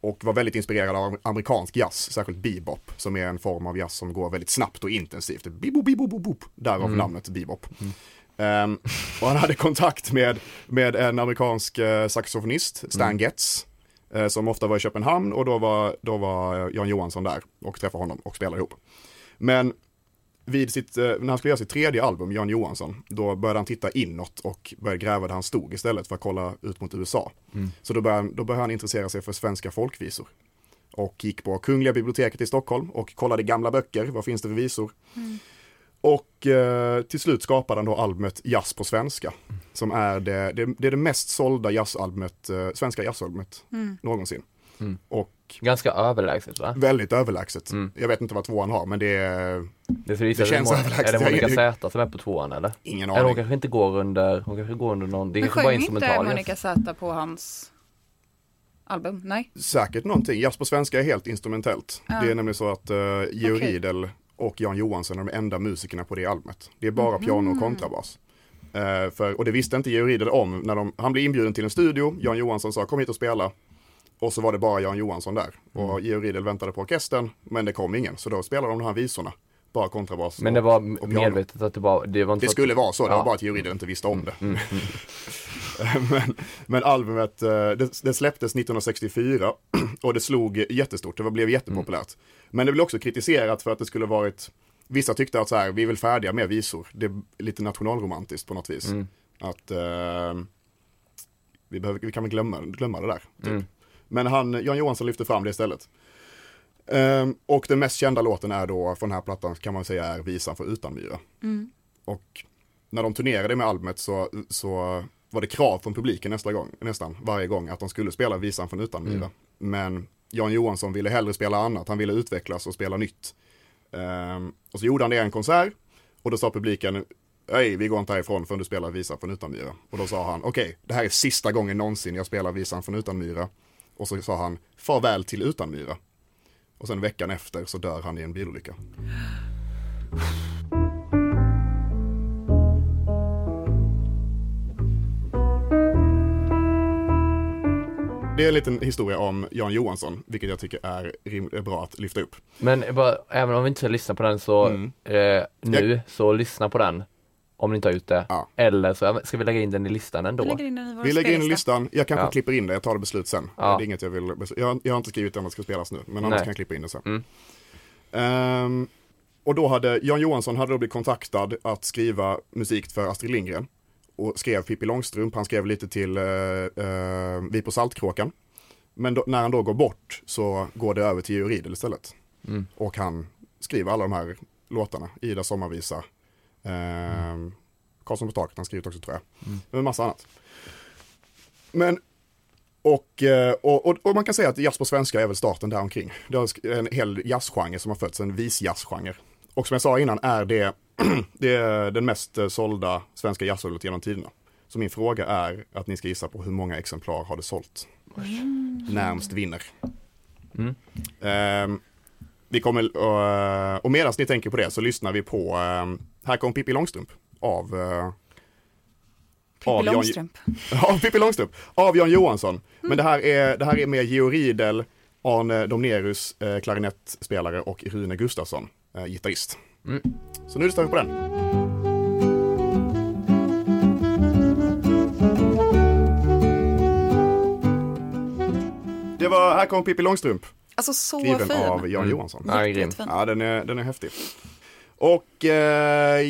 Speaker 3: Och var väldigt inspirerad av amerikansk jazz, särskilt bebop, som är en form av jazz som går väldigt snabbt och intensivt. Bebop, bebop, bebop, bebop. Därav namnet bebop. Ehm, och han hade kontakt med, med en amerikansk eh, saxofonist, Stan Getz, eh, som ofta var i Köpenhamn och då var, då var eh, Jan Johansson där och träffade honom och spelade ihop. Men vid sitt, eh, när han skulle göra sitt tredje album, Jan Johansson, då började han titta inåt och började gräva där han stod istället för att kolla ut mot USA. Så då började, han- då började han intressera sig för svenska folkvisor. Och gick på Kungliga biblioteket i Stockholm och kollade gamla böcker, vad finns det för visor? Och eh, till slut skapade han då albumet Jazz på svenska. Som är det, det, det, är det mest sålda jazzalbumet, eh, svenska jazzalbumet någonsin. Och
Speaker 4: Ganska överlägset va?
Speaker 3: väldigt överlägset. Jag vet inte vad tvåan har, men det är
Speaker 4: Det, det
Speaker 3: Det känns
Speaker 4: Mon-
Speaker 3: överlägset.
Speaker 4: Är det Monica
Speaker 3: Jag-
Speaker 4: Z som är på tvåan eller?
Speaker 3: ingen
Speaker 4: Eller hon
Speaker 3: aning.
Speaker 4: kanske inte går under, hon kanske går under någon, det är
Speaker 5: Men
Speaker 4: kanske bara
Speaker 5: sjöng inte
Speaker 4: instrumental.
Speaker 5: Monica Z på hans album? Nej?
Speaker 3: Säkert någonting. Jazz på svenska är helt instrumentellt.
Speaker 5: Ja.
Speaker 3: Det är nämligen så att uh, Georg
Speaker 5: Okej.
Speaker 3: Riedel och Jan Johansson är de enda musikerna på det albumet. Det är bara
Speaker 5: Mm.
Speaker 3: piano och kontrabas. Eh, för, och det visste inte Georg Riedel om. När de, han blev inbjuden till en studio, Jan Johansson sa kom hit och spela. Och så var det bara Jan Johansson där.
Speaker 4: Mm.
Speaker 3: Och Georg Riedel väntade på orkestern, men det kom ingen. Så då spelade de de här visorna. Bara kontrabas.
Speaker 4: Men
Speaker 3: och-
Speaker 4: det var
Speaker 3: och piano.
Speaker 4: medvetet att det var, det var inte
Speaker 3: Det
Speaker 4: så att-
Speaker 3: skulle vara så, det
Speaker 4: Ja. Mm.
Speaker 3: var bara att juryn inte visste om det. [laughs] men, men albumet, eh, det, det släpptes 1964 [clears throat] och det slog jättestort, det var- blev jättepopulärt.
Speaker 4: Mm.
Speaker 3: Men det blev också kritiserat för att det skulle varit, vissa tyckte att så här, vi är väl färdiga med visor, det är lite nationalromantiskt på något vis.
Speaker 4: Mm.
Speaker 3: Att eh, vi, behöver, vi kan väl glömma, glömma det där. Typ.
Speaker 4: Mm.
Speaker 3: Men han, Jan Johansson lyfte fram det istället. Ehm, och den mest kända låten är då, från den här plattan kan man säga är Visan för Utanmyra. Och när de turnerade med albumet så, så var det krav från publiken nästa gång, nästan varje gång att de skulle spela Visan från Utanmyra. Men Jan Johansson ville hellre spela annat, han ville utvecklas och spela nytt. Ehm, och så gjorde han det i en konsert och då sa publiken Nej, vi går inte härifrån förrän du spelar Visan från Utanmyra. Och då sa han, okej, det här är sista gången någonsin jag spelar Visan från Utanmyra. Och så sa han, farväl till Utanmyra. Och sen veckan efter så dör han i en bilolycka. Det är en liten historia om Jan Johansson, vilket jag tycker är, rim- är bra att lyfta upp.
Speaker 4: Men bara, även om vi inte ska lyssna på den så,
Speaker 3: Mm.
Speaker 4: eh, nu, så lyssna på den. Om ni inte har gjort det.
Speaker 3: Ja.
Speaker 4: Eller så ska vi lägga in den i listan ändå.
Speaker 5: Vi lägger in den i vår
Speaker 3: Vi lägger in i
Speaker 5: spellista.
Speaker 3: listan, jag kanske
Speaker 4: Ja.
Speaker 3: klipper in det, jag tar det beslut sen.
Speaker 4: Ja.
Speaker 3: Det är inget jag vill, bes- jag, har- jag har inte skrivit om det ska spelas nu, men annars
Speaker 4: Nej.
Speaker 3: kan jag klippa in det sen.
Speaker 4: Mm.
Speaker 3: Ehm, och då hade, Jan Johansson hade då blivit kontaktad att skriva musik för Astrid Lindgren. Och skrev Pippi Långstrump, han skrev lite till eh, eh, Vi på Saltkråkan. Men då, när han då går bort så går det över till Georg Riedel istället.
Speaker 4: Mm.
Speaker 3: Och han skriver alla de här låtarna, Ida sommarvisa, ehm,
Speaker 4: Mm.
Speaker 3: Karlsson på taket, han skrivit också tror jag. Men massa annat. Men, och, eh, och, och, och man kan säga att jazz på svenska är väl starten där omkring. Det har sk- en hel jazzgenre som har fötts, en visjazzgenre. Och som jag sa innan är det, [clears throat] det är den mest eh, sålda svenska jazzalbumet genom tiderna. Så min fråga är att ni ska gissa på hur många exemplar har det sålt? Närmst vinner.
Speaker 4: Mm.
Speaker 3: Ehm, vi kommer, eh, och medan ni tänker på det så lyssnar vi på eh, Här kom Pippi Långstrump av eh,
Speaker 5: Pippi
Speaker 3: av Jan-
Speaker 5: Långstrump.
Speaker 3: av Pippi Långstrump, av Jan Johansson. Men det här är, det här är med Georg Riedel, Arne Domnerus, eh, klarinettspelare och Rune Gustafsson, eh, gitarrist.
Speaker 4: Mm.
Speaker 3: Så nu lyssnar vi på den. Det var, här kom Pippi Långstrump,
Speaker 5: Alltså så
Speaker 3: skriven
Speaker 5: fin.
Speaker 3: av Jan
Speaker 4: Mm.
Speaker 3: Johansson.
Speaker 4: Ja, grym.
Speaker 5: Jättefin.
Speaker 3: Ja, den är, den är häftig. Och eh,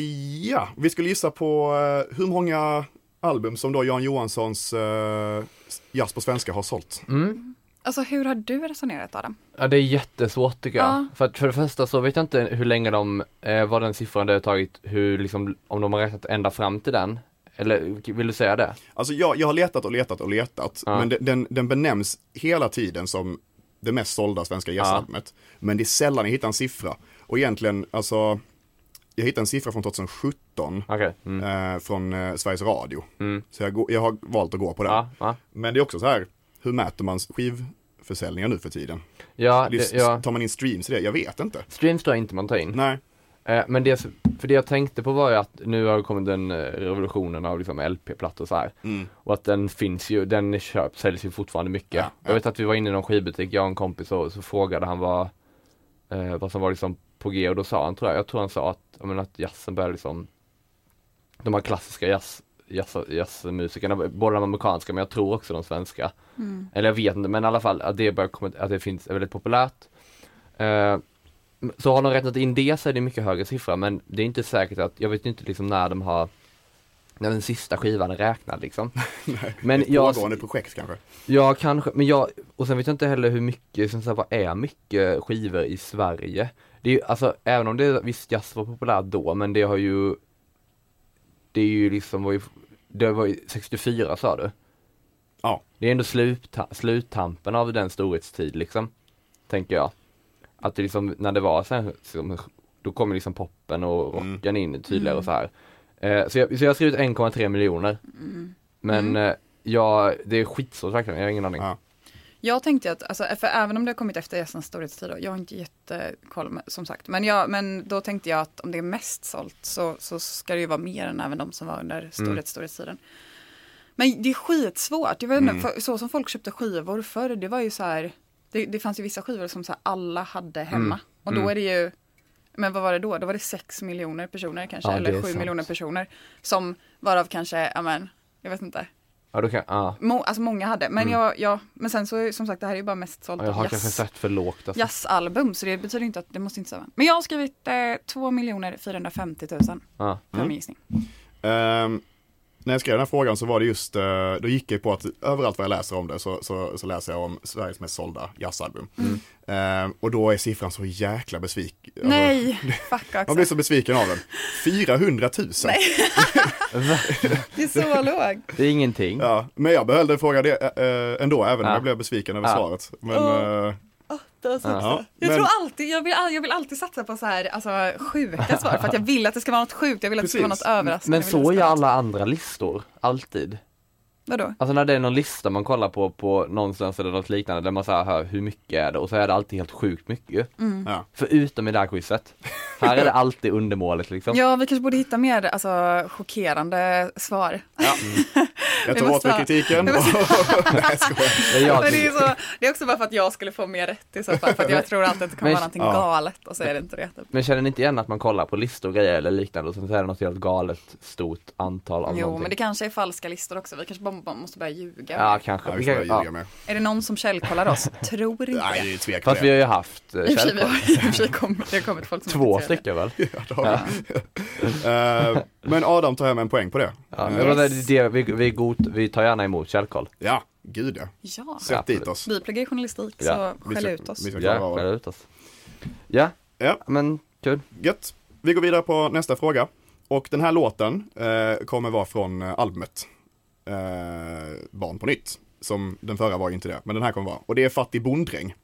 Speaker 3: ja, vi skulle gissa på eh, hur många album som då Jan Johanssons eh, jazz på svenska har sålt.
Speaker 4: Mm.
Speaker 5: Alltså hur har du resonerat Adam?
Speaker 4: Ja, det är jättesvårt tycker jag.
Speaker 5: Ja.
Speaker 4: För, att för det första så vet jag inte hur länge de, eh, vad den siffran det har tagit, hur liksom, om de har räknat ända fram till den. Eller vill du säga det?
Speaker 3: Alltså jag, jag har letat och letat och letat,
Speaker 4: Ja.
Speaker 3: men de- den, den benämns hela tiden som det mest sålda svenska jazzalbumet. Men det är sällan jag hittar en siffra. Och egentligen, alltså, jag hittade en siffra från 2017
Speaker 4: Okej. Mm.
Speaker 3: eh, från eh, Sveriges Radio.
Speaker 4: Mm.
Speaker 3: Så jag, går- jag har valt att gå på den.
Speaker 4: Ja, ja.
Speaker 3: Men det är också så här, hur mäter man skivförsäljningar nu för tiden?
Speaker 4: Ja, det,
Speaker 3: Lys-
Speaker 4: ja.
Speaker 3: Tar man in streams i det? Jag vet inte.
Speaker 4: Streams tror jag inte man tar in.
Speaker 3: Nej.
Speaker 4: Eh, men det, för det jag tänkte på var ju att nu har det kommit den eh, revolutionen av liksom LP-plattor så här.
Speaker 3: Mm.
Speaker 4: Och att den finns ju, den köps, säljs ju fortfarande mycket.
Speaker 3: Ja, ja.
Speaker 4: Jag vet att vi var inne i någon skivbutik, jag och en kompis, och så frågade han vad, eh, vad som var liksom på G och då sa han, tror jag, jag tror han sa att, jag menar, att jazzen började liksom, de här klassiska jazz, jazz, jazzmusikerna, både de amerikanska men jag tror också de svenska. Eller jag vet inte, men i alla fall att det, börjar komma, att det finns, är väldigt populärt. Eh, så har de räknat in det så är det en mycket högre siffra men det är inte säkert att, jag vet inte liksom när de har när den sista skivan är räknad liksom. men
Speaker 3: Ett
Speaker 4: jag,
Speaker 3: pågående projekt kanske.
Speaker 4: jag kanske, men jag, och sen vet jag inte heller hur mycket, som så här, vad är mycket skivor i Sverige? Det är ju, alltså även om det, visst jazz var populärt då men det har ju Det är ju liksom, var ju, det var ju 64 sa du?
Speaker 3: Ja.
Speaker 4: Det är ändå slutta, sluttampen av den storhetstid liksom, tänker jag. Att det liksom, när det var så här, som- då kommer liksom poppen och
Speaker 3: Mm.
Speaker 4: rocken in tydligare och så här. Eh, så, jag, så jag har skrivit 1,3 miljoner. Men eh, jag, det är skitsvårt verkligen, jag har ingen aning.
Speaker 3: Ja.
Speaker 5: Jag tänkte att, alltså, för även om det har kommit efter gästens storhetstid, och jag har inte jättekoll med- som sagt, men, jag, men då tänkte jag att om det är mest sålt så, så ska det ju vara mer än även de som var under
Speaker 4: Mm.
Speaker 5: storhet, storhetstiden. Men det är skitsvårt, jag vet
Speaker 4: Mm.
Speaker 5: inte, för, så som folk köpte skivor förr, det var ju så här, det, det fanns ju vissa skivor som så här, alla hade
Speaker 4: Mm.
Speaker 5: hemma. Och då är det ju, men vad var det då? Då var det 6 miljoner personer kanske,
Speaker 4: Ja, det är
Speaker 5: eller 7
Speaker 4: sant.
Speaker 5: miljoner personer, som varav kanske, ja men, jag vet inte,
Speaker 4: Ja, då kan, ja.
Speaker 5: Må, alltså många hade, men, jag, jag, men sen så som sagt det här är ju bara mest sålt
Speaker 4: Mm. Ja, Jag har kanske
Speaker 5: jazz,
Speaker 4: sett för lågt alltså.
Speaker 5: jazzalbum så det betyder inte att det måste inte stämma. Men jag har skrivit eh, 2 450 000
Speaker 4: Mm. Ja.
Speaker 5: för min gissning.
Speaker 3: Ehm, när jag skrev den här frågan så var det just, eh, då gick jag på att överallt vad jag läser om det så, så, så läser jag om Sveriges mest sålda jazzalbum.
Speaker 4: Mm.
Speaker 3: Ehm, och då är siffran så jäkla besviken. Alltså,
Speaker 4: [laughs]
Speaker 5: Nej, fuck
Speaker 3: Man blir
Speaker 5: också.
Speaker 3: så besviken av den. 400 000!
Speaker 5: Det är
Speaker 4: [laughs]
Speaker 5: så låg.
Speaker 4: Det är ingenting.
Speaker 3: Ja, men jag behöll den frågan det, eh, ändå, även om
Speaker 4: Ja.
Speaker 3: jag blev besviken över
Speaker 4: Ja.
Speaker 3: svaret. Men,
Speaker 5: Åh.
Speaker 3: eh,
Speaker 4: Ja.
Speaker 3: ja,
Speaker 5: Jag
Speaker 3: men
Speaker 5: tror alltid, jag vill, jag vill alltid satsa på så här, alltså sjuka svar för att jag vill att det ska vara något sjukt, jag vill att det ska vara
Speaker 3: Precis.
Speaker 5: något överraskande.
Speaker 4: Men
Speaker 5: vill att det
Speaker 4: så
Speaker 5: ska
Speaker 4: är
Speaker 5: vara
Speaker 4: alla andra listor, alltid.
Speaker 5: något- Vadå?
Speaker 4: Alltså när det är någon lista man kollar på, på någonstans eller något liknande, där man så här hör hur mycket är det och så är det alltid helt sjukt mycket ju.
Speaker 3: ja.
Speaker 4: Förutom i det här quizet. Här är det alltid undermåligt liksom.
Speaker 5: Ja, vi kanske borde hitta mer alltså, chockerande svar.
Speaker 3: Jag
Speaker 5: Vi
Speaker 3: tar åt
Speaker 5: måste
Speaker 3: mig
Speaker 5: ha- [laughs]
Speaker 3: kritiken.
Speaker 5: vi måste
Speaker 3: Nej, jag skojar.
Speaker 4: Det är jag
Speaker 5: Men det, är
Speaker 4: tycker-
Speaker 5: så, det är också bara för att jag skulle få mer rätt i så fall, för att jag tror alltid att det kommer
Speaker 4: Men-
Speaker 5: vara någonting
Speaker 3: ja.
Speaker 5: galet och så är det inte det. Typ.
Speaker 4: Men känner ni inte igen att man kollar på listor och grejer eller liknande och sen så är det något helt galet stort antal av
Speaker 5: Jo,
Speaker 4: någonting?
Speaker 5: men det kanske är falska listor också. Vi kanske bara, bara måste börja ljuga.
Speaker 4: Ja, kanske.
Speaker 3: Ja,
Speaker 4: Vi
Speaker 3: vi får
Speaker 4: kan-
Speaker 3: börja
Speaker 4: ja.
Speaker 3: ljuga med.
Speaker 5: Är det någon som källkollar oss? Tror inte
Speaker 3: Nej,
Speaker 5: det.
Speaker 3: det är tvek
Speaker 4: Fast
Speaker 3: för
Speaker 4: vi har
Speaker 3: det.
Speaker 4: ju haft eh,
Speaker 5: I och för sig, vi
Speaker 4: källkod.
Speaker 5: har, i och för sig kommit, det har kommit folk som
Speaker 4: Två
Speaker 5: inte ser det.
Speaker 4: stycken väl?
Speaker 3: Ja. [laughs] Eh, Men Adam tar hem en poäng på det.
Speaker 4: Ja,
Speaker 3: Eh,
Speaker 4: men det, är det, vi, vi, är god, vi tar gärna emot källkoll.
Speaker 3: Ja, gud ja.
Speaker 5: Ja,
Speaker 3: Sätt
Speaker 4: Absolut.
Speaker 3: dit oss.
Speaker 5: vi pluggar ju journalistik
Speaker 4: Ja,
Speaker 5: så
Speaker 3: vi
Speaker 5: skäll
Speaker 3: ska-
Speaker 5: ut oss.
Speaker 3: vi ska-
Speaker 4: Ja,
Speaker 3: klara av det.
Speaker 4: skäll ut oss. Ja,
Speaker 3: Ja.
Speaker 4: men kul.
Speaker 3: Gött. Vi går vidare på nästa fråga. Och den här låten eh, kommer vara från eh, albumet eh, Barn på nytt. Som den förra var ju inte det, men den här kommer vara. Och det är Fattig bonddräng.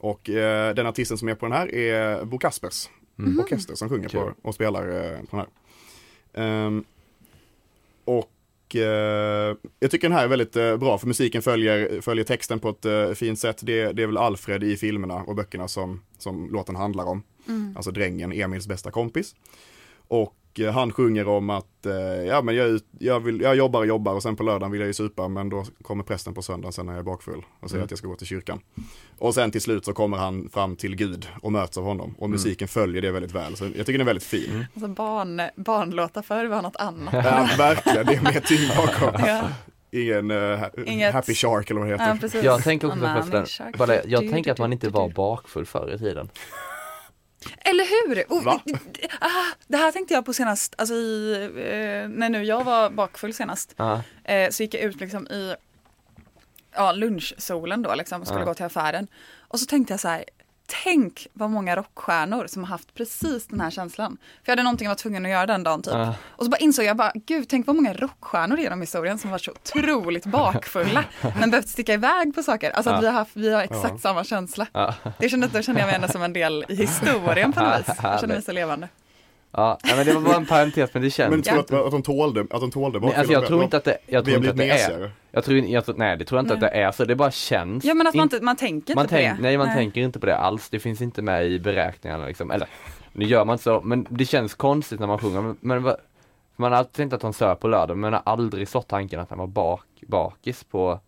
Speaker 3: Och eh, den artisten som är på den här är Bo Kaspers orkester som sjunger
Speaker 4: Kul.
Speaker 3: på, och spelar eh, på den här. Ehm, och eh, jag tycker den här är väldigt eh, bra för musiken följer, följer texten på ett eh, fint sätt. Det, det är väl Alfred i filmerna och böckerna som, som låten handlar om.
Speaker 5: Mm.
Speaker 3: Alltså drängen, Emils bästa kompis. Och eh, han sjunger om att eh, ja, men jag, är ut- jag, vill, jag jobbar och jobbar och sen på lördagen vill jag ju supa men då kommer prästen på söndagen sen när jag är bakfull och
Speaker 4: Mm.
Speaker 3: säger att jag ska gå till kyrkan. Och sen till slut så kommer han fram till Gud och möts av honom
Speaker 4: Mm.
Speaker 3: och musiken följer det väldigt väl. Så jag tycker den är väldigt fin.
Speaker 5: Alltså barn, barnlåtar förr var något
Speaker 4: [laughs]
Speaker 5: annat.
Speaker 3: Ja, verkligen, det är mer tyngd bakom.
Speaker 5: Ja,
Speaker 3: Ingen eh, ha-
Speaker 5: Inget-
Speaker 3: happy shark eller vad det heter.
Speaker 5: ja, precis.
Speaker 4: Jag tänker också
Speaker 5: Mamma,
Speaker 4: förresten,
Speaker 5: min shark.
Speaker 4: bara, jag
Speaker 5: Du,
Speaker 4: tänker
Speaker 5: du,
Speaker 4: att man
Speaker 5: du,
Speaker 4: inte
Speaker 5: du,
Speaker 4: var
Speaker 5: du.
Speaker 4: bakfull förr i tiden.
Speaker 5: Eller hur? Och,
Speaker 3: Va?
Speaker 5: ah, det här tänkte jag på senast, alltså i, eh, när nu jag var bakfull senast.
Speaker 4: Ja.
Speaker 5: Eh, så gick jag ut liksom i ja, lunchsolen då liksom, och skulle
Speaker 4: Ja.
Speaker 5: gå till affären. Och så tänkte jag så här, tänk vad många rockstjärnor som har haft precis den här känslan. För jag hade någonting jag var tvungen att göra den dagen typ.
Speaker 4: Ja.
Speaker 5: Och så bara insåg jag bara, gud tänk vad många rockstjärnor genom historien som varit så
Speaker 4: [laughs]
Speaker 5: otroligt bakfulla. men behövt sticka iväg på saker. Alltså att
Speaker 4: Ja.
Speaker 5: vi har, haft, vi har exakt samma känsla.
Speaker 4: Ja.
Speaker 5: Det kände, då kände jag mig ändå som en del i historien på
Speaker 4: [laughs]
Speaker 5: något vis. Jag kände mig så levande.
Speaker 4: Ja, nej, men det var bara en parentes men det känns.
Speaker 3: Men tror du att, att de tålde, att de tålde
Speaker 4: Nej, alltså jag
Speaker 3: bakfyllan?
Speaker 4: tror inte att det, jag
Speaker 3: Vi har
Speaker 4: tror inte att det
Speaker 3: blivit
Speaker 4: är.
Speaker 3: mesigare.
Speaker 4: Jag tror, in- jag, tror- nej det tror jag inte att det är så, det bara känns.
Speaker 5: Ja men att man,
Speaker 4: In-
Speaker 5: inte, man tänker
Speaker 4: man
Speaker 5: inte på
Speaker 4: tänk,
Speaker 5: det.
Speaker 4: Nej man tänker inte på det alls, det finns inte med i beräkningarna liksom. Eller, nu gör man inte så, men det känns konstigt när man sjunger. Men, men vad- man har alltid tänkt att han söp på lördagen men har aldrig slått tanken att han var bak, bakis på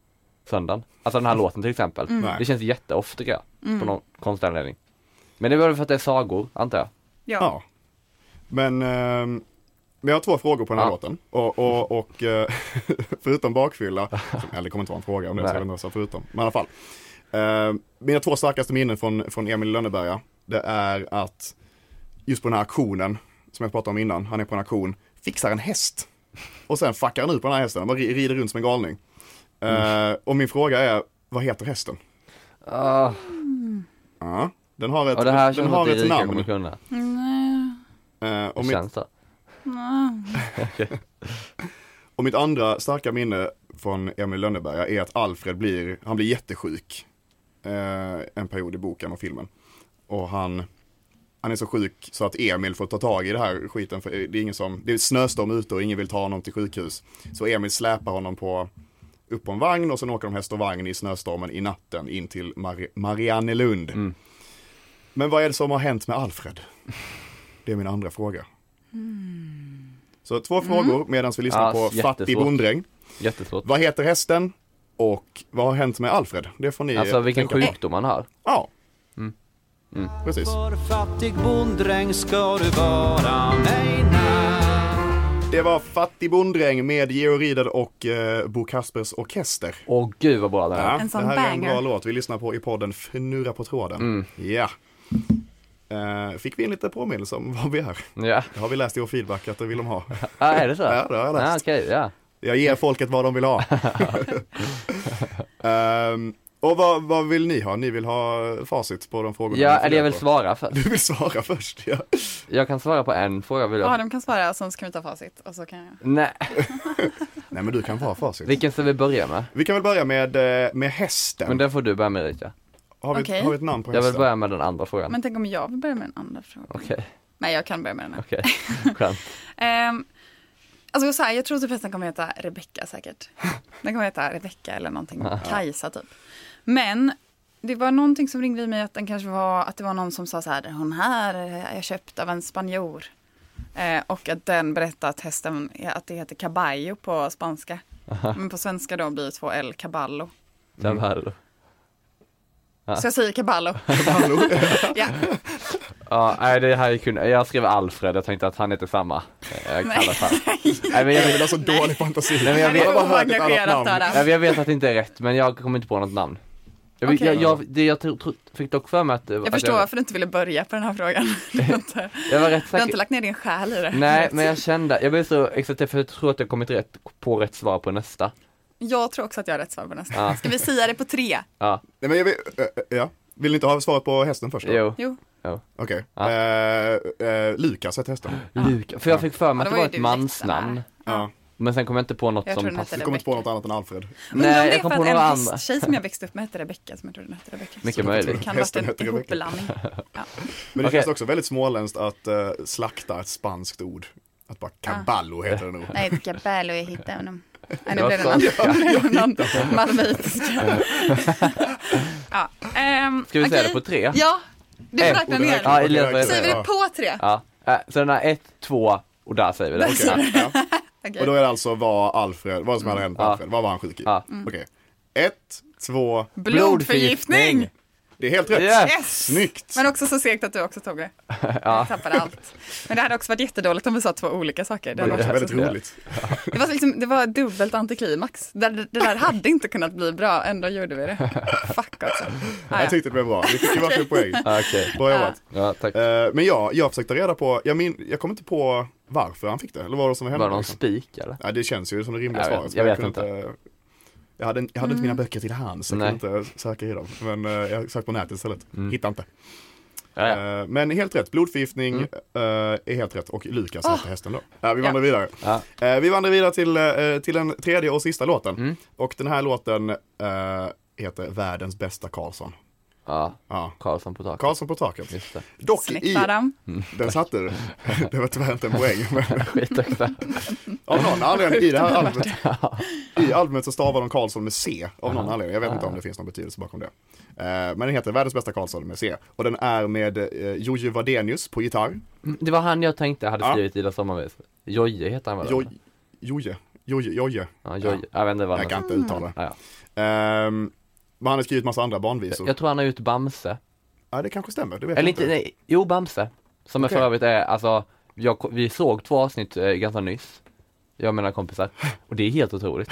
Speaker 4: söndagen. Alltså den
Speaker 5: Mm.
Speaker 4: här låten till exempel.
Speaker 3: Nej.
Speaker 4: Det känns jätteofta tycker jag, på någon konstig anledning. Men det är väl för att det är sagor, antar jag.
Speaker 5: Ja.
Speaker 3: Ja. Men ehm, vi har två frågor på den här
Speaker 4: Ja.
Speaker 3: låten. Och, och, och eh, [laughs] förutom bakfylla, som- eller det kommer inte vara en fråga om det, så jag vet
Speaker 4: Nej.
Speaker 3: inte vad jag sa förutom. Men i alla fall. Ehm, mina två starkaste minnen från, från Emil i Lönneberga, det är att just på den här auktionen, som jag pratade om innan, han är på en auktion, fixar en häst. Och sen fuckar han ut på den här hästen, han bara ri- rider runt som en galning. Ehm,
Speaker 4: Mm.
Speaker 3: och min fråga är, vad heter hästen?
Speaker 4: Ah,
Speaker 3: Ja, den har ett,
Speaker 4: och det här
Speaker 3: den
Speaker 4: känns som
Speaker 3: har
Speaker 4: att
Speaker 3: ett
Speaker 4: Erika
Speaker 3: namn.
Speaker 4: kommer kunna.
Speaker 3: Ehm, och
Speaker 4: Det
Speaker 3: mitt-
Speaker 4: känns så.
Speaker 3: Och mitt andra starka minne från Emil i Lönneberga är att Alfred blir, han blir jättesjuk. Eh, en period i boken och filmen. Och han, han är så sjuk så att Emil får ta tag i det här skiten. För det är ingen som, det är snöstorm ute och ingen vill ta honom till sjukhus. Så Emil släpar honom på, upp på en vagn och sen åker de häst och vagn i snöstormen i natten in till Mar- Mariannelund.
Speaker 4: Mm.
Speaker 3: Men vad är det som har hänt med Alfred? Det är min andra fråga. Så två frågor medan vi lyssnar
Speaker 4: Ja,
Speaker 3: på
Speaker 4: Ah, jättesvårt.
Speaker 3: Fattig bonddräng.
Speaker 4: Jättesvårt.
Speaker 3: Vad heter hästen? Och vad har hänt med Alfred? Det får ni
Speaker 4: Alltså vilken
Speaker 3: tänka på.
Speaker 4: sjukdom han har.
Speaker 3: Ja.
Speaker 4: Mm.
Speaker 3: Mm. Precis.
Speaker 6: För fattig bonddräng ska du vara, nej, nej.
Speaker 3: Det var Fattig bonddräng med Georg Riedel och eh, Bo Kaspers Orkester.
Speaker 4: Åh gud vad bra den är.
Speaker 3: Ja,
Speaker 5: En sån
Speaker 3: det här är en
Speaker 5: banger.
Speaker 3: bra låt vi lyssnar på i podden Fnurra på tråden.
Speaker 4: Mm.
Speaker 3: Ja. Eh, fick vi en liten påminnelse om vad vi är.
Speaker 4: Ja,
Speaker 3: Det har vi läst i vår feedback att det vill de ha.
Speaker 4: ah, är det så?
Speaker 3: Ja, det har jag läst.
Speaker 4: Ah, okej, ja.
Speaker 3: Jag ger folket vad de vill
Speaker 4: [laughs]
Speaker 3: ha. Ehm, och vad, vad vill ni ha? Ni vill ha facit på de frågorna ni
Speaker 4: ja eller
Speaker 3: funderar
Speaker 4: jag vill
Speaker 3: på.
Speaker 4: svara för
Speaker 3: Du vill svara först, ja.
Speaker 4: Jag kan svara på en fråga vill jag.
Speaker 5: Adam kan svara, sen ska vi ta facit och så kan jag.
Speaker 4: Nej,
Speaker 3: Nej men du kan få ha facit.
Speaker 4: vilken ska vi börja med?
Speaker 3: Vi kan väl börja med, eh, med hästen.
Speaker 4: Men den får du börja med Erika.
Speaker 3: har, vi,
Speaker 5: Okej.
Speaker 3: har vi ett namn på
Speaker 4: Jag
Speaker 3: hästen?
Speaker 4: vill börja med den andra frågan.
Speaker 5: Men tänk om jag vill börja med en andra fråga.
Speaker 4: Okej,
Speaker 5: Nej, jag kan börja med
Speaker 4: [laughs]
Speaker 5: den här. [laughs]
Speaker 4: okej. Skönt.
Speaker 5: Ehm, alltså så här, jag tror typ att den kommer heta Rebecka säkert. Den kommer heta Rebecka eller någonting. Kajsa typ. Men det var någonting som ringde i mig att den kanske var att det var någon som sa så här, hon här är köpt av en spanjor. Eh, och att den berättade att hästen, att det heter caballo på spanska. Men på svenska då blir det två L, caballo.
Speaker 4: Den var
Speaker 5: Så jag säger caballo. [laughs] ja.
Speaker 4: Ja, nej det här är kun... Jag skrev Alfred, jag tänkte att han heter samma. Eh, Jag kallar
Speaker 5: [laughs]
Speaker 4: för. Nej men jag
Speaker 3: Jag vill
Speaker 4: vet,
Speaker 3: ha så alltså dålig fantasi.
Speaker 4: Nej, men jag
Speaker 5: Det
Speaker 4: vet,
Speaker 5: är
Speaker 3: bara hört ett
Speaker 5: oengagerat
Speaker 3: annat namn.
Speaker 5: Adam.
Speaker 4: nej, men jag vet att det inte är rätt, men jag kommer inte på något namn. Jag,
Speaker 5: Okej.
Speaker 4: jag, jag, det, jag tro, tro, fick dock för mig att...
Speaker 5: Jag förstår varför du inte ville börja på den här frågan. [laughs] Du har inte,
Speaker 4: Jag var rätt
Speaker 5: du har inte
Speaker 4: säker.
Speaker 5: lagt ner din själ i det.
Speaker 4: Nej, men jag kände, jag blev så exalterad för jag tror att jag kommit rätt på rätt svar på nästa.
Speaker 5: Jag tror också att jag har rätt svar på nästa.
Speaker 4: Ja.
Speaker 5: Ska vi säga det på tre?
Speaker 4: Ja,
Speaker 3: Nej, men jag vill, eh, eh, ja. vill ni inte ha svaret på hästen först? då?
Speaker 4: jo.
Speaker 5: Jo.
Speaker 3: Okej.
Speaker 4: Ja.
Speaker 3: Eh, eh, Lukas hette hästen.
Speaker 4: Luka, Ah. för jag fick för mig
Speaker 5: Ja,
Speaker 4: att
Speaker 5: då
Speaker 4: det
Speaker 5: var
Speaker 4: var
Speaker 5: ju
Speaker 4: ett
Speaker 5: du
Speaker 4: mansnamn.
Speaker 5: jättenära.
Speaker 3: Ja.
Speaker 4: Men sen kom jag inte på något
Speaker 5: Jag tror
Speaker 4: som
Speaker 5: den hette
Speaker 3: Du
Speaker 4: passade.
Speaker 3: kommer inte på något annat än Alfred.
Speaker 5: Undrar om
Speaker 4: Nej,
Speaker 5: det är
Speaker 4: jag kom
Speaker 5: för
Speaker 4: på
Speaker 5: att en
Speaker 4: några andra.
Speaker 5: hästtjej som jag växte upp med hette Rebecka som jag tror den hette Rebecka.
Speaker 4: Mycket
Speaker 5: Så det
Speaker 4: möjligt.
Speaker 5: Kan ha varit
Speaker 3: Hästen
Speaker 5: en
Speaker 3: hette Rebecka.
Speaker 5: ihopblandning. Ja.
Speaker 3: Men det
Speaker 4: Okej.
Speaker 3: känns också väldigt småländskt att eh, slakta ett spanskt ord. Att bara caballo heter det nog.
Speaker 5: Nej, det är Cabello jag hittade honom. Nej, nu
Speaker 4: Jag
Speaker 5: blev det
Speaker 4: sa-
Speaker 5: någon, nu blev det [laughs] någon malmöitisk. ja. ehm,
Speaker 4: Ska vi säga
Speaker 5: okej.
Speaker 4: det på tre?
Speaker 5: Ja, du får
Speaker 4: Ett.
Speaker 5: räkna
Speaker 3: Och det
Speaker 5: ner.
Speaker 3: här
Speaker 4: Ja, Elias
Speaker 3: Ja.
Speaker 4: var
Speaker 5: Säger vi det på tre?
Speaker 4: Ja, eh, så den här ett, två och där säger vi det.
Speaker 3: Okej, [laughs] ja.
Speaker 5: Okej.
Speaker 3: Och då är det alltså vad Alfred, vad som hade hänt med
Speaker 4: Ja.
Speaker 3: Alfred, vad var han sjuk i?
Speaker 4: Ja.
Speaker 3: Okej. Ett, två,
Speaker 5: Blodförgiftning!
Speaker 3: Det är helt rätt.
Speaker 4: Yes.
Speaker 3: Snyggt.
Speaker 5: Men också så segt att du också tog det.
Speaker 4: Ja.
Speaker 5: Jag tappade allt. Men det hade också varit jättedåligt om vi sa två olika saker. Det,
Speaker 3: Det
Speaker 5: hade
Speaker 3: var
Speaker 5: varit
Speaker 3: väldigt
Speaker 5: så-
Speaker 4: Ja.
Speaker 3: roligt.
Speaker 5: det, var, liksom, det var dubbelt antiklimax. Det, det där hade inte kunnat bli bra, ändå gjorde vi det. Fuck också. Ah,
Speaker 3: [laughs] Jag
Speaker 5: ja.
Speaker 3: tyckte det blev bra. Vi fick ju varsin poäng.
Speaker 4: Okej.
Speaker 3: Bra jobbat.
Speaker 4: Ja, tack.
Speaker 3: Eh, Men ja, jag försökte ta reda på, jag, min, jag kom inte på varför han fick det, eller vad det som hände.
Speaker 4: Var det någon
Speaker 3: liksom.
Speaker 4: spik eller?
Speaker 3: Ja, det känns ju som det rimliga
Speaker 4: Jag vet-
Speaker 3: svaret.
Speaker 4: jag
Speaker 3: men
Speaker 4: vet
Speaker 3: kunde Jag hade, jag hade inte
Speaker 5: Mm.
Speaker 3: mina böcker till hands, jag
Speaker 4: Nej.
Speaker 3: kunde inte söka i dem. Men eh, jag sökte på nätet istället.
Speaker 4: Mm.
Speaker 3: Hittade inte.
Speaker 4: Ja, ja.
Speaker 3: Eh, men helt rätt, blodförgiftning
Speaker 4: Mm.
Speaker 3: eh, är helt rätt. Och Lukas hette hästen då. Eh, vi
Speaker 5: Ja.
Speaker 3: vandrar vidare.
Speaker 4: Ja.
Speaker 3: Eh, vi vandrar vidare till, eh, till den tredje och sista låten.
Speaker 4: Mm.
Speaker 3: Och den här låten eh, heter Världens bästa Karlsson.
Speaker 4: ja.
Speaker 3: Ja,
Speaker 4: Karlsson på taket.
Speaker 3: Karlsson på taket.
Speaker 4: Just det.
Speaker 3: Dock
Speaker 5: Snyggt
Speaker 3: i,
Speaker 5: Adam.
Speaker 3: den satte du. Det [laughs] var tyvärr inte en poäng. Men [laughs]
Speaker 4: Skithögt där.
Speaker 3: Av
Speaker 4: [laughs]
Speaker 3: någon anledning i det här albumet, i albumet så stavar de Karlsson med C av någon anledning. Jag vet inte om det finns någon betydelse bakom det. Eh, Men den heter Världens bästa Karlsson med C. Och den är med eh, Jojje Wadenius på gitarr.
Speaker 4: Mm, Det var han jag tänkte hade
Speaker 3: Ja.
Speaker 4: skrivit Ida Sommarvis. Joje heter han väl?
Speaker 3: Jo- Jojje, Jojje, Jojje.
Speaker 4: Ja, Mm. Joje. Jag vet inte vad
Speaker 3: Jag
Speaker 4: han
Speaker 3: kan inte uttala
Speaker 4: Ja, ja.
Speaker 3: det. Um, Men han har skrivit massa andra barnvisor.
Speaker 4: Jag tror han har gjort Bamse.
Speaker 3: Ja, det kanske stämmer. Det vet
Speaker 4: Eller
Speaker 3: jag
Speaker 4: inte,
Speaker 3: inte.
Speaker 4: nej, jo Bamse. Som
Speaker 3: Okej.
Speaker 4: för övrigt är, alltså, jag, vi såg två avsnitt eh, ganska nyss. Jag och mina kompisar. Och det är helt otroligt.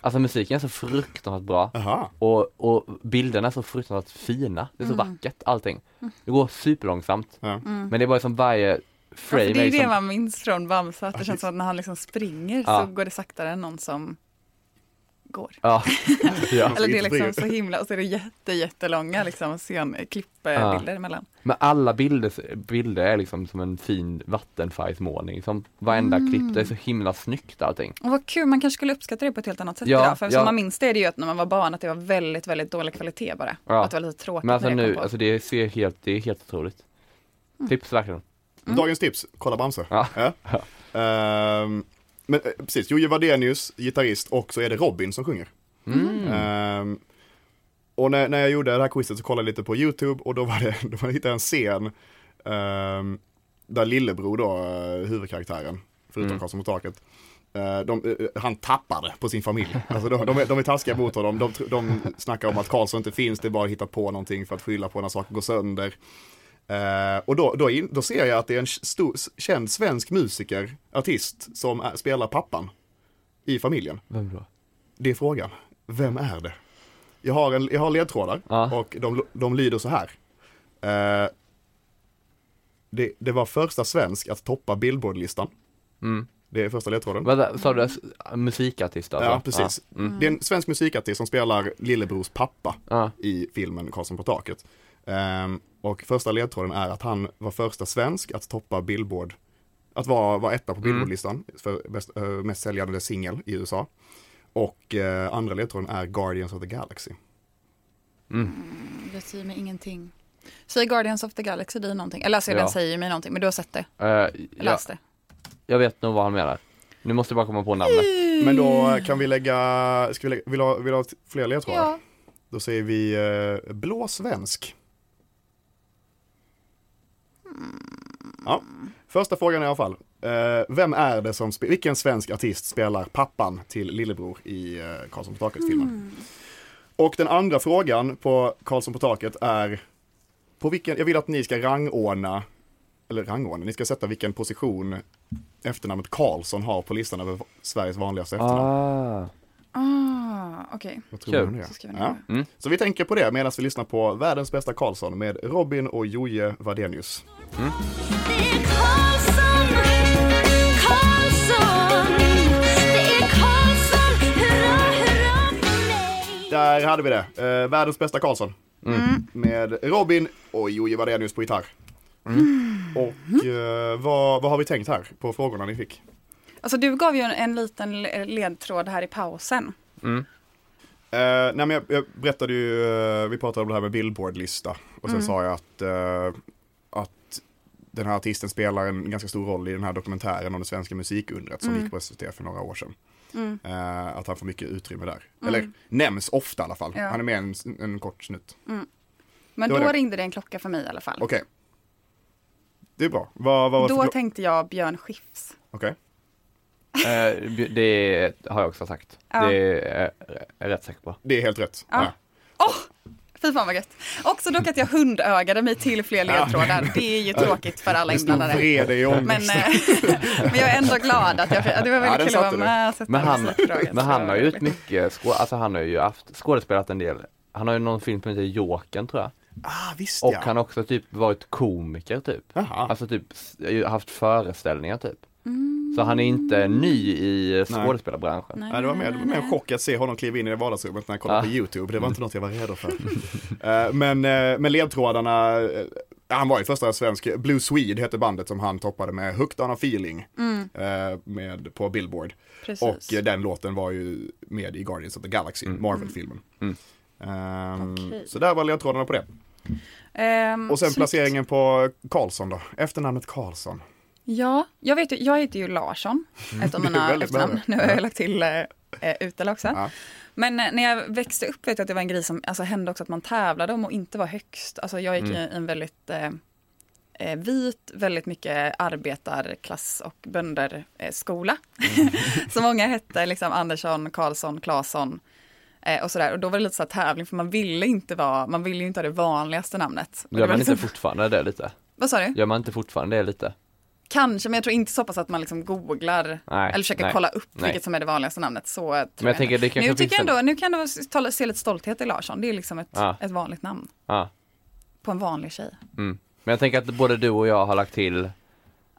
Speaker 4: Alltså musiken är så fruktansvärt bra.
Speaker 3: Aha.
Speaker 4: Och, och bilderna är så fruktansvärt fina. Det är så
Speaker 5: Mm.
Speaker 4: vackert allting. Det går superlångsamt.
Speaker 3: Ja.
Speaker 4: Men det är bara som varje frame
Speaker 5: Alltså, det är ju
Speaker 4: liksom,
Speaker 5: det man minns från Bamse, att det känns som att när han liksom springer
Speaker 4: Ja.
Speaker 5: så går det saktare än någon som går.
Speaker 4: Ja. ja.
Speaker 5: Eller det är
Speaker 3: inte
Speaker 5: liksom så
Speaker 3: springer.
Speaker 5: himla, och så är det jätte, jättelånga liksom, scen, klippbilder emellan.
Speaker 4: Men alla bilder, bilder är liksom som en fin vattenfärgsmålning. Som varenda
Speaker 5: Mm.
Speaker 4: klipp, det är så himla snyggt allting.
Speaker 5: Och vad kul, man kanske skulle uppskatta det på ett helt annat sätt
Speaker 4: Ja,
Speaker 5: idag. För
Speaker 4: ja.
Speaker 5: som man minns det är det ju att när man var barn att det var väldigt, väldigt dålig kvalitet bara.
Speaker 4: Ja.
Speaker 5: Att det var lite tråkigt
Speaker 4: Men alltså
Speaker 5: när det kom
Speaker 4: nu,
Speaker 5: på.
Speaker 4: alltså det ser helt, det är helt otroligt.
Speaker 5: Mm.
Speaker 4: Tips verkligen.
Speaker 3: Dagens tips, kolla Bamse.
Speaker 4: Ja.
Speaker 3: Ja. Ehm, men eh, precis, Jojje Wadenius, gitarrist och så är det Robin som sjunger. Ehm, och när, när jag gjorde det här quizet så kollade jag lite på YouTube och då var det, [laughs] då var det hittade jag en scen ehm, där lillebror då, eh, huvudkaraktären, förutom Karlsson på taket, eh, de, eh, han tappade på sin familj. Alltså de, de, är, de är taskiga mot honom, de, tr- de snackar om att Karlsson inte finns, det är bara att hitta på någonting för att skylla på när saker går sönder. Eh, och då, då, in, då ser jag att det är en stor, känd svensk musiker, artist, som är, spelar pappan i familjen.
Speaker 4: Vem då?
Speaker 3: Det är frågan. Vem är det? Jag har, en, jag har ledtrådar
Speaker 4: Ja.
Speaker 3: och de, de lyder så här. Eh, det, det var första svensk att toppa Billboard-listan.
Speaker 4: Mm.
Speaker 3: Det är första ledtråden.
Speaker 4: Vänta, sa du s- musikartist alltså?
Speaker 3: Ja, precis. Det är en svensk musikartist som spelar lillebrors pappa
Speaker 4: Ja.
Speaker 3: i filmen Karlsson på taket. Ehm, och första ledtråden är att han var första svensk att toppa Billboard, att vara, vara etta på Billboardlistan för bäst, eh, mest säljande singel i USA. Och eh, andra ledtråden är Guardians of the Galaxy.
Speaker 5: Det säger mig ingenting. Säger Guardians of the Galaxy dig någonting? Eller alltså
Speaker 4: Ja.
Speaker 5: den säger ju mig någonting, men du har sett det?
Speaker 4: Ja. Eh, jag,
Speaker 5: Läst det?
Speaker 4: jag vet nog vad han menar. Nu måste jag bara komma på namnet.
Speaker 3: Men då kan vi lägga, ska vi lägga vill, du ha, vill du ha t- fler ledtrådar?
Speaker 5: Ja.
Speaker 3: Då säger vi eh, blå svensk. Ja, första frågan i alla fall. Eh, vem är det som, spe- vilken svensk artist spelar pappan till lillebror i eh, Karlsson på taket-filmen? Och den andra frågan på Karlsson på taket är, på vilken, jag vill att ni ska rangordna, eller rangordna, ni ska sätta vilken position efternamnet Karlsson har på listan över Sveriges vanligaste efternamn.
Speaker 4: Ah.
Speaker 5: Ah, okej.
Speaker 3: Vad tror ni om
Speaker 4: kul.
Speaker 3: det?
Speaker 5: Så skriver ni
Speaker 3: Ja.
Speaker 5: det.
Speaker 3: Så vi tänker på det medan vi lyssnar på Världens bästa Karlsson med Robin och Joje Wadenius.
Speaker 7: Det är Karlsson, Karlsson. Det är Karlsson, hurra, hurra för mig.
Speaker 3: Där hade vi det. Eh, världens bästa Karlsson. Med Robin och Joje Wadenius på gitarr. Och eh, vad, vad har vi tänkt här på frågorna ni fick?
Speaker 5: Alltså du gav ju en, en liten le- ledtråd här i pausen.
Speaker 3: Eh, nej men jag, jag berättade ju, eh, vi pratade om det här med Billboard-lista. Och sen
Speaker 5: Mm.
Speaker 3: sa jag att, eh, att den här artisten spelar en ganska stor roll i den här dokumentären om det svenska musikundret
Speaker 5: Mm.
Speaker 3: som gick på SVT för några år sedan. Eh, att han får mycket utrymme där. Eller nämns ofta i alla fall.
Speaker 5: Mm. Ja.
Speaker 3: Han är med en, en kort snutt.
Speaker 5: Men
Speaker 3: Det
Speaker 5: då
Speaker 3: var det.
Speaker 5: ringde det en klocka för mig i alla fall.
Speaker 3: Okej. Det är bra. Vad, vad,
Speaker 5: Då
Speaker 3: vad-
Speaker 5: tänkte jag Björn Skifs.
Speaker 3: Okej.
Speaker 4: Eh, b- det har jag också sagt.
Speaker 5: Ja.
Speaker 4: Det är jag rätt säker på.
Speaker 3: Det är helt rätt.
Speaker 5: Ja.
Speaker 3: Ja.
Speaker 5: Fy fan vad gött. Också dock att jag hundögade mig till fler ledtrådar. Det är ju tråkigt för alla
Speaker 3: Du stod
Speaker 5: inblandade.
Speaker 3: vrede i
Speaker 5: Men,
Speaker 3: ångesten.
Speaker 5: eh, [laughs] men jag är ändå glad att jag fick, det var
Speaker 3: Ja, den
Speaker 5: väldigt kul att
Speaker 3: satte
Speaker 5: vara med. och sätta
Speaker 4: Men han,
Speaker 5: musikfrågan.
Speaker 4: men han har ju ett
Speaker 5: Det var
Speaker 4: mycket, skå, alltså han har ju haft, skådespelat en del. Han har ju någon film som heter Jokern tror jag.
Speaker 3: Ah, visst
Speaker 4: Och
Speaker 3: ja.
Speaker 4: han har också typ varit komiker typ.
Speaker 3: Jaha.
Speaker 4: Alltså typ s- haft föreställningar typ. Så han är inte ny i skådespelarbranschen.
Speaker 3: Nej, det var mer, det var mer en chock att se honom kliva in i det vardagsrummet när jag kollade
Speaker 4: Ah.
Speaker 3: på YouTube. Det var inte något jag var redo för. Eh, men, eh, men ledtrådarna, eh, han var ju första svensk, Blue Swede hette bandet som han toppade med Hooked on a feeling eh, med, på Billboard.
Speaker 5: Mm. Precis.
Speaker 3: Och eh, den låten var ju med i Guardians of the Galaxy, Marvel-filmen. Ehm,
Speaker 5: Okej.
Speaker 3: Så där var ledtrådarna på det.
Speaker 5: Ehm,
Speaker 3: Och sen
Speaker 5: snyggt.
Speaker 3: placeringen på Karlsson då, efternamnet Karlsson.
Speaker 5: Ja, jag, vet, ju- jag heter ju Larsson, ett av
Speaker 3: Mm. Det är
Speaker 5: mina
Speaker 3: väldigt
Speaker 5: efternamn.
Speaker 3: bra.
Speaker 5: Nu har jag lagt till eh, eh, Utala också.
Speaker 3: Ja.
Speaker 5: Men eh, när jag växte upp vet jag att det var en grej som alltså, hände också att man tävlade om att inte vara högst. Alltså jag gick i
Speaker 3: Mm.
Speaker 5: en väldigt eh, eh, vit, väldigt mycket arbetarklass och bönderskola. Eh, skola.
Speaker 3: Mm.
Speaker 5: [laughs] så många hette liksom Andersson, Karlsson, Claesson. eh, Och sådär. Och då var det lite så här tävling för man ville inte vara, man ville ju inte ha det vanligaste namnet. Och det
Speaker 4: Gör
Speaker 5: var
Speaker 4: man inte
Speaker 5: liksom,
Speaker 4: fortfarande det lite?
Speaker 5: vad sa du?
Speaker 4: Gör man inte fortfarande det lite?
Speaker 5: Kanske, men jag tror inte så pass att man liksom googlar
Speaker 4: Nej,
Speaker 5: eller försöker
Speaker 4: nej,
Speaker 5: kolla upp
Speaker 4: nej.
Speaker 5: vilket som är det vanligaste namnet. Så tror
Speaker 4: Men jag
Speaker 5: inte.
Speaker 4: tänker det kanske
Speaker 5: nu tycker
Speaker 4: finns
Speaker 5: jag ändå, nu kan du tala- se lite stolthet i Larsson. Det är liksom ett,
Speaker 4: Ja.
Speaker 5: ett vanligt namn
Speaker 4: Ja.
Speaker 5: på en vanlig tjej.
Speaker 4: Mm. Men jag tänker att både du och jag har lagt till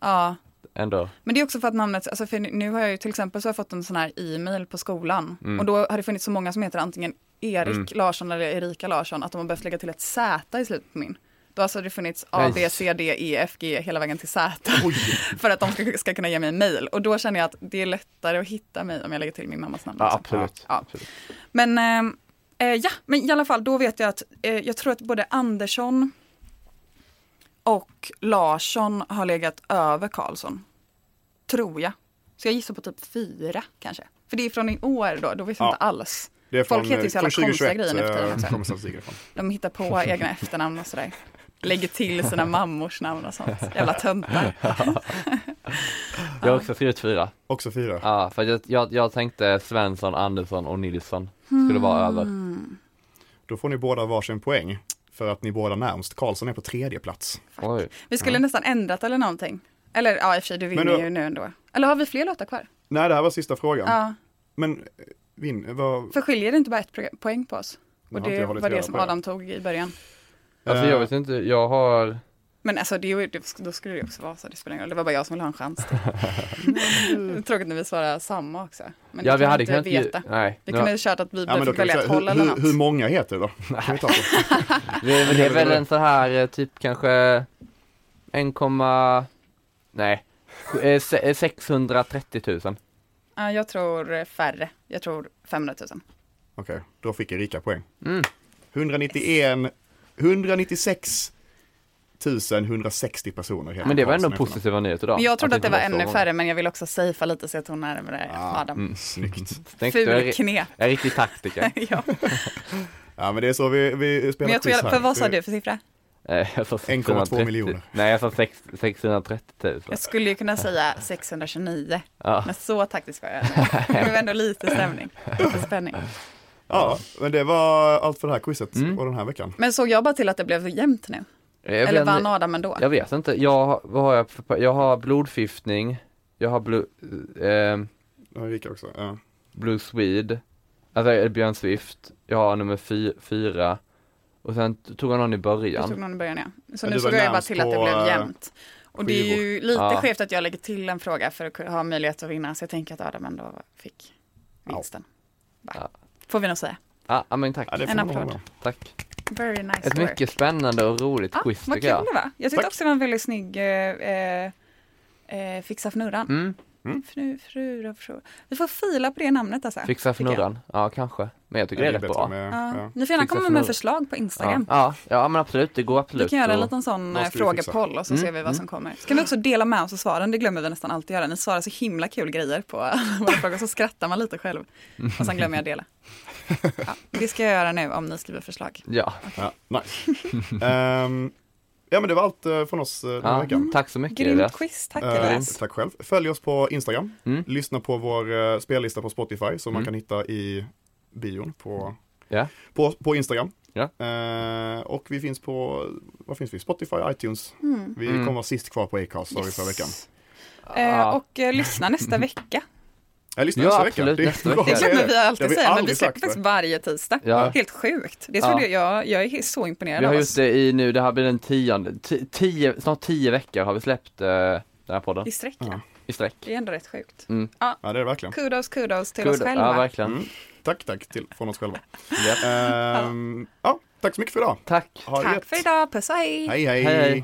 Speaker 5: Ja,
Speaker 4: ändå.
Speaker 5: men det är också för att namnet, alltså för nu har jag ju till exempel så har jag fått en sån här e-mail på skolan
Speaker 4: Mm.
Speaker 5: och då har det funnits så många som heter antingen Erik Larsson eller Erika Larsson att de har behövt lägga till ett Z i slutet på min. Då har alltså det funnits A, B,
Speaker 4: Nej.
Speaker 5: C, D, E, F, G hela vägen till Z [laughs] för att de ska, ska kunna ge mig en mail. Och då känner jag att det är lättare att hitta mig om jag lägger till min mammas namn.
Speaker 4: Ja
Speaker 5: också.
Speaker 4: absolut.
Speaker 5: Ja.
Speaker 4: absolut.
Speaker 5: Men eh, eh, ja, men i alla fall då vet jag att eh, jag tror att både Andersson och Larsson har legat över Karlsson. Tror jag. Så jag gissar på typ fyra kanske. För det är från i år då, då vet jag
Speaker 3: Ja.
Speaker 5: inte alls.
Speaker 3: Det är
Speaker 5: Folk
Speaker 3: från, eh,
Speaker 5: heter ju så jävla
Speaker 3: från
Speaker 5: konstiga grejer nu för tiden alltså.
Speaker 3: eh,
Speaker 5: också.
Speaker 3: kommer statistiken ifrån.
Speaker 5: De hittar på egna efternamn och sådär. Lägger till sina mammors namn och sånt. Jävla töntar.
Speaker 4: Jag har också skrivit fyra.
Speaker 3: Också fyra.
Speaker 4: Ja, för jag, jag, jag tänkte Svensson, Andersson och Nilsson skulle vara
Speaker 5: Hmm.
Speaker 4: över.
Speaker 3: Då får ni båda varsin poäng för att ni båda närmst. Karlsson är på tredje plats.
Speaker 4: Oj.
Speaker 5: Vi skulle nästan ändrat eller någonting. Eller ja, i och för sig, du vinner
Speaker 3: då- Mm.
Speaker 5: ju nu ändå. Eller har vi fler låtar kvar?
Speaker 3: Nej, det här var sista frågan.
Speaker 5: Ja.
Speaker 3: Men, eh, Vin, vad...
Speaker 5: För skiljer det inte bara ett pro- poäng på oss? Och
Speaker 3: Jag har
Speaker 5: det
Speaker 3: inte hållit
Speaker 5: var det
Speaker 3: reda
Speaker 5: som
Speaker 3: på det.
Speaker 5: Adam tog i början.
Speaker 4: Alltså
Speaker 3: Eh,
Speaker 4: jag vet inte, jag har
Speaker 5: Men alltså det, är ju- det, då skulle det också vara så, det spelar ingen roll. Det var bara jag som ville ha en chans.
Speaker 4: [laughs]
Speaker 5: Tråkigt när vi svarar samma också. Men det
Speaker 4: Ja
Speaker 5: kan
Speaker 4: vi hade
Speaker 5: inte
Speaker 4: kunnat ju-
Speaker 5: veta.
Speaker 4: Nej,
Speaker 5: Vi
Speaker 4: nu-
Speaker 5: kunde ju kört att vi
Speaker 3: Ja, men då
Speaker 5: fick
Speaker 3: kan vi
Speaker 5: välja ett
Speaker 3: säga,
Speaker 5: håll
Speaker 3: hur,
Speaker 5: eller
Speaker 3: hur, hur
Speaker 5: något.
Speaker 3: många heter det då? Kan vi ta
Speaker 5: [laughs]
Speaker 3: det?
Speaker 4: det, är- det är väl en så här eh, typ kanske 1, nej eh, se- eh, 630 000.
Speaker 5: Ja, jag tror färre. Jag tror 500 000.
Speaker 3: Okej, då fick Erika poäng.
Speaker 4: Mm.
Speaker 3: 191, 196 160 personer heter
Speaker 4: Men det var
Speaker 3: Karlsson
Speaker 4: ändå
Speaker 3: efternamn.
Speaker 4: positiva nyheter idag.
Speaker 5: Men jag trodde att det var
Speaker 4: inte
Speaker 5: ännu
Speaker 4: så
Speaker 5: färre men jag vill också safea lite så jag tog närmare
Speaker 3: Ah,
Speaker 5: Adam.
Speaker 4: mm.
Speaker 3: Snyggt.
Speaker 4: många. Tänkte jag
Speaker 5: Ful
Speaker 4: är-
Speaker 5: knep.
Speaker 4: jag är riktig taktiker.
Speaker 5: [laughs] ja.
Speaker 3: Ja, men det är så vi, vi spelar
Speaker 5: Men jag tror,
Speaker 3: quiz
Speaker 5: jag-
Speaker 3: här.
Speaker 5: för vad sa du för siffra?
Speaker 4: Eh, jag sa
Speaker 3: 1,2
Speaker 4: 630
Speaker 3: miljoner.
Speaker 4: Nej jag sa sex- 630 000.
Speaker 5: Jag skulle ju kunna säga 629.
Speaker 4: Ja.
Speaker 5: Men så taktisk var jag. inte. Det blev ändå lite stämning. Lite spänning.
Speaker 3: Ja, men det var allt för det här quizet
Speaker 5: Mm.
Speaker 3: och den här veckan.
Speaker 5: Men såg jag bara till att det blev jämnt nu?
Speaker 4: Jag
Speaker 5: Eller
Speaker 4: vet-
Speaker 5: vann Adam ändå?
Speaker 4: Jag vet inte, jag, har- vad har jag för, jag har blodförgiftning, jag har blue, eh,
Speaker 3: Det var Erika också. Ja.
Speaker 4: blue Swede, alltså eh, Björn Swift, jag har nummer fy, fyra och sen t- tog jag någon i
Speaker 5: Jag tog
Speaker 4: början.
Speaker 5: någon i början ja. Så
Speaker 3: Men
Speaker 5: nu
Speaker 3: du var
Speaker 5: såg jag bara
Speaker 3: närmst
Speaker 5: till att det
Speaker 3: på,
Speaker 5: blev
Speaker 3: eh,
Speaker 5: jämnt. Och det är ju lite
Speaker 4: Ja.
Speaker 5: skevt att jag lägger till en fråga för att kunna- ha möjlighet att vinna. Så jag tänker att Adam ändå fick vinsten. Va?
Speaker 4: Ja.
Speaker 5: Får vi nog säga.
Speaker 4: Ja, ah, men tack,
Speaker 3: Ja, det får
Speaker 5: En
Speaker 3: man hålla
Speaker 5: applåd.
Speaker 3: med om.
Speaker 4: tack.
Speaker 5: Very nice
Speaker 4: Ett
Speaker 5: work.
Speaker 4: mycket spännande och roligt
Speaker 5: Ja,
Speaker 4: quiz
Speaker 5: Ah, vad
Speaker 4: tycker
Speaker 5: kul
Speaker 4: jag.
Speaker 5: det var. Jag tyckte
Speaker 3: Tack.
Speaker 5: också det var en väldigt snygg eh, eh, eh, Fixa fnurran.
Speaker 4: Mm,
Speaker 5: Fru, fru, fru. Vi får fila på det namnet alltså.
Speaker 4: fixa
Speaker 5: tycker jag.
Speaker 4: fnurran, ja kanske, men jag tycker det är rätt
Speaker 3: bättre
Speaker 4: bra.
Speaker 3: med-
Speaker 5: Ja.
Speaker 3: ja.
Speaker 5: Ni får gärna
Speaker 4: Fixa
Speaker 5: komma med
Speaker 4: fnurr.
Speaker 5: förslag på
Speaker 4: Ja,
Speaker 5: Instagram.
Speaker 4: ja, ja men absolut, det går
Speaker 5: Vi
Speaker 4: absolut.
Speaker 5: kan göra en
Speaker 4: att-
Speaker 5: liten sån
Speaker 3: Vad
Speaker 5: eh,
Speaker 3: ska vi fixa?
Speaker 5: frågepoll och så ser
Speaker 4: Mm.
Speaker 5: vi vad som kommer. Så kan vi också dela med oss av svaren, det glömmer vi nästan alltid göra. Ni svarar så himla kul grejer på [laughs] våra frågor, så skrattar man lite själv. Och sen glömmer jag dela. Ja, det ska jag göra nu om ni skriver förslag.
Speaker 4: Ja,
Speaker 3: Ja, nice. [laughs] Ehm, ja, men det var allt eh, från oss eh, den här
Speaker 4: ja
Speaker 3: veckan.
Speaker 4: tack så mycket
Speaker 5: Grymt
Speaker 4: Elias.
Speaker 5: quiz, tack
Speaker 3: Eh,
Speaker 5: Elias.
Speaker 3: tack själv. Följ oss på Instagram.
Speaker 4: Mm.
Speaker 3: Lyssna på vår eh, spellista på Spotify som man kan hitta i bion på,
Speaker 4: Ja.
Speaker 3: på, på Instagram.
Speaker 4: Ja.
Speaker 3: Eh, och vi finns på, vad finns vi? Spotify, iTunes.
Speaker 5: Mm.
Speaker 3: Vi
Speaker 4: Mm.
Speaker 3: kommer vara sist kvar på Acast, sa vi förra veckan.
Speaker 5: Eh, och eh, lyssna nästa
Speaker 4: Mm.
Speaker 5: vecka.
Speaker 3: Jag lyssnar
Speaker 4: Ja,
Speaker 3: nästa
Speaker 4: absolut,
Speaker 3: vecka.
Speaker 4: nästa vecka.
Speaker 5: Det
Speaker 4: Ja,
Speaker 5: glömmer vi
Speaker 3: Det har
Speaker 5: alltid
Speaker 3: vi
Speaker 5: säga, men vi
Speaker 3: aldrig
Speaker 5: släpper
Speaker 3: sagt,
Speaker 5: faktiskt varje tisdag.
Speaker 4: Ja.
Speaker 5: Helt sjukt. Det
Speaker 4: Ja.
Speaker 5: trodde jag, jag är så imponerad
Speaker 4: Vi har
Speaker 5: av
Speaker 4: gjort
Speaker 5: oss.
Speaker 4: det i nu, det här blir den tionde, ti- tio, snart tio veckor har vi släppt eh, den här podden
Speaker 5: I sträck.
Speaker 3: Ja.
Speaker 4: i sträck.
Speaker 5: Det är ändå rätt sjukt.
Speaker 3: Ja, det är det verkligen.
Speaker 5: Kudos, kudos till oss
Speaker 4: Kul.
Speaker 5: själva.
Speaker 4: Ja, verkligen.
Speaker 3: Mm. Tack, tack till, från oss själva.
Speaker 4: Japp.
Speaker 3: Ehm, ja, tack så mycket för idag.
Speaker 4: Tack.
Speaker 3: Ha det
Speaker 5: Tack
Speaker 3: gött.
Speaker 5: för idag, puss och hej!
Speaker 3: hej.
Speaker 4: Hej, hej.
Speaker 3: hej.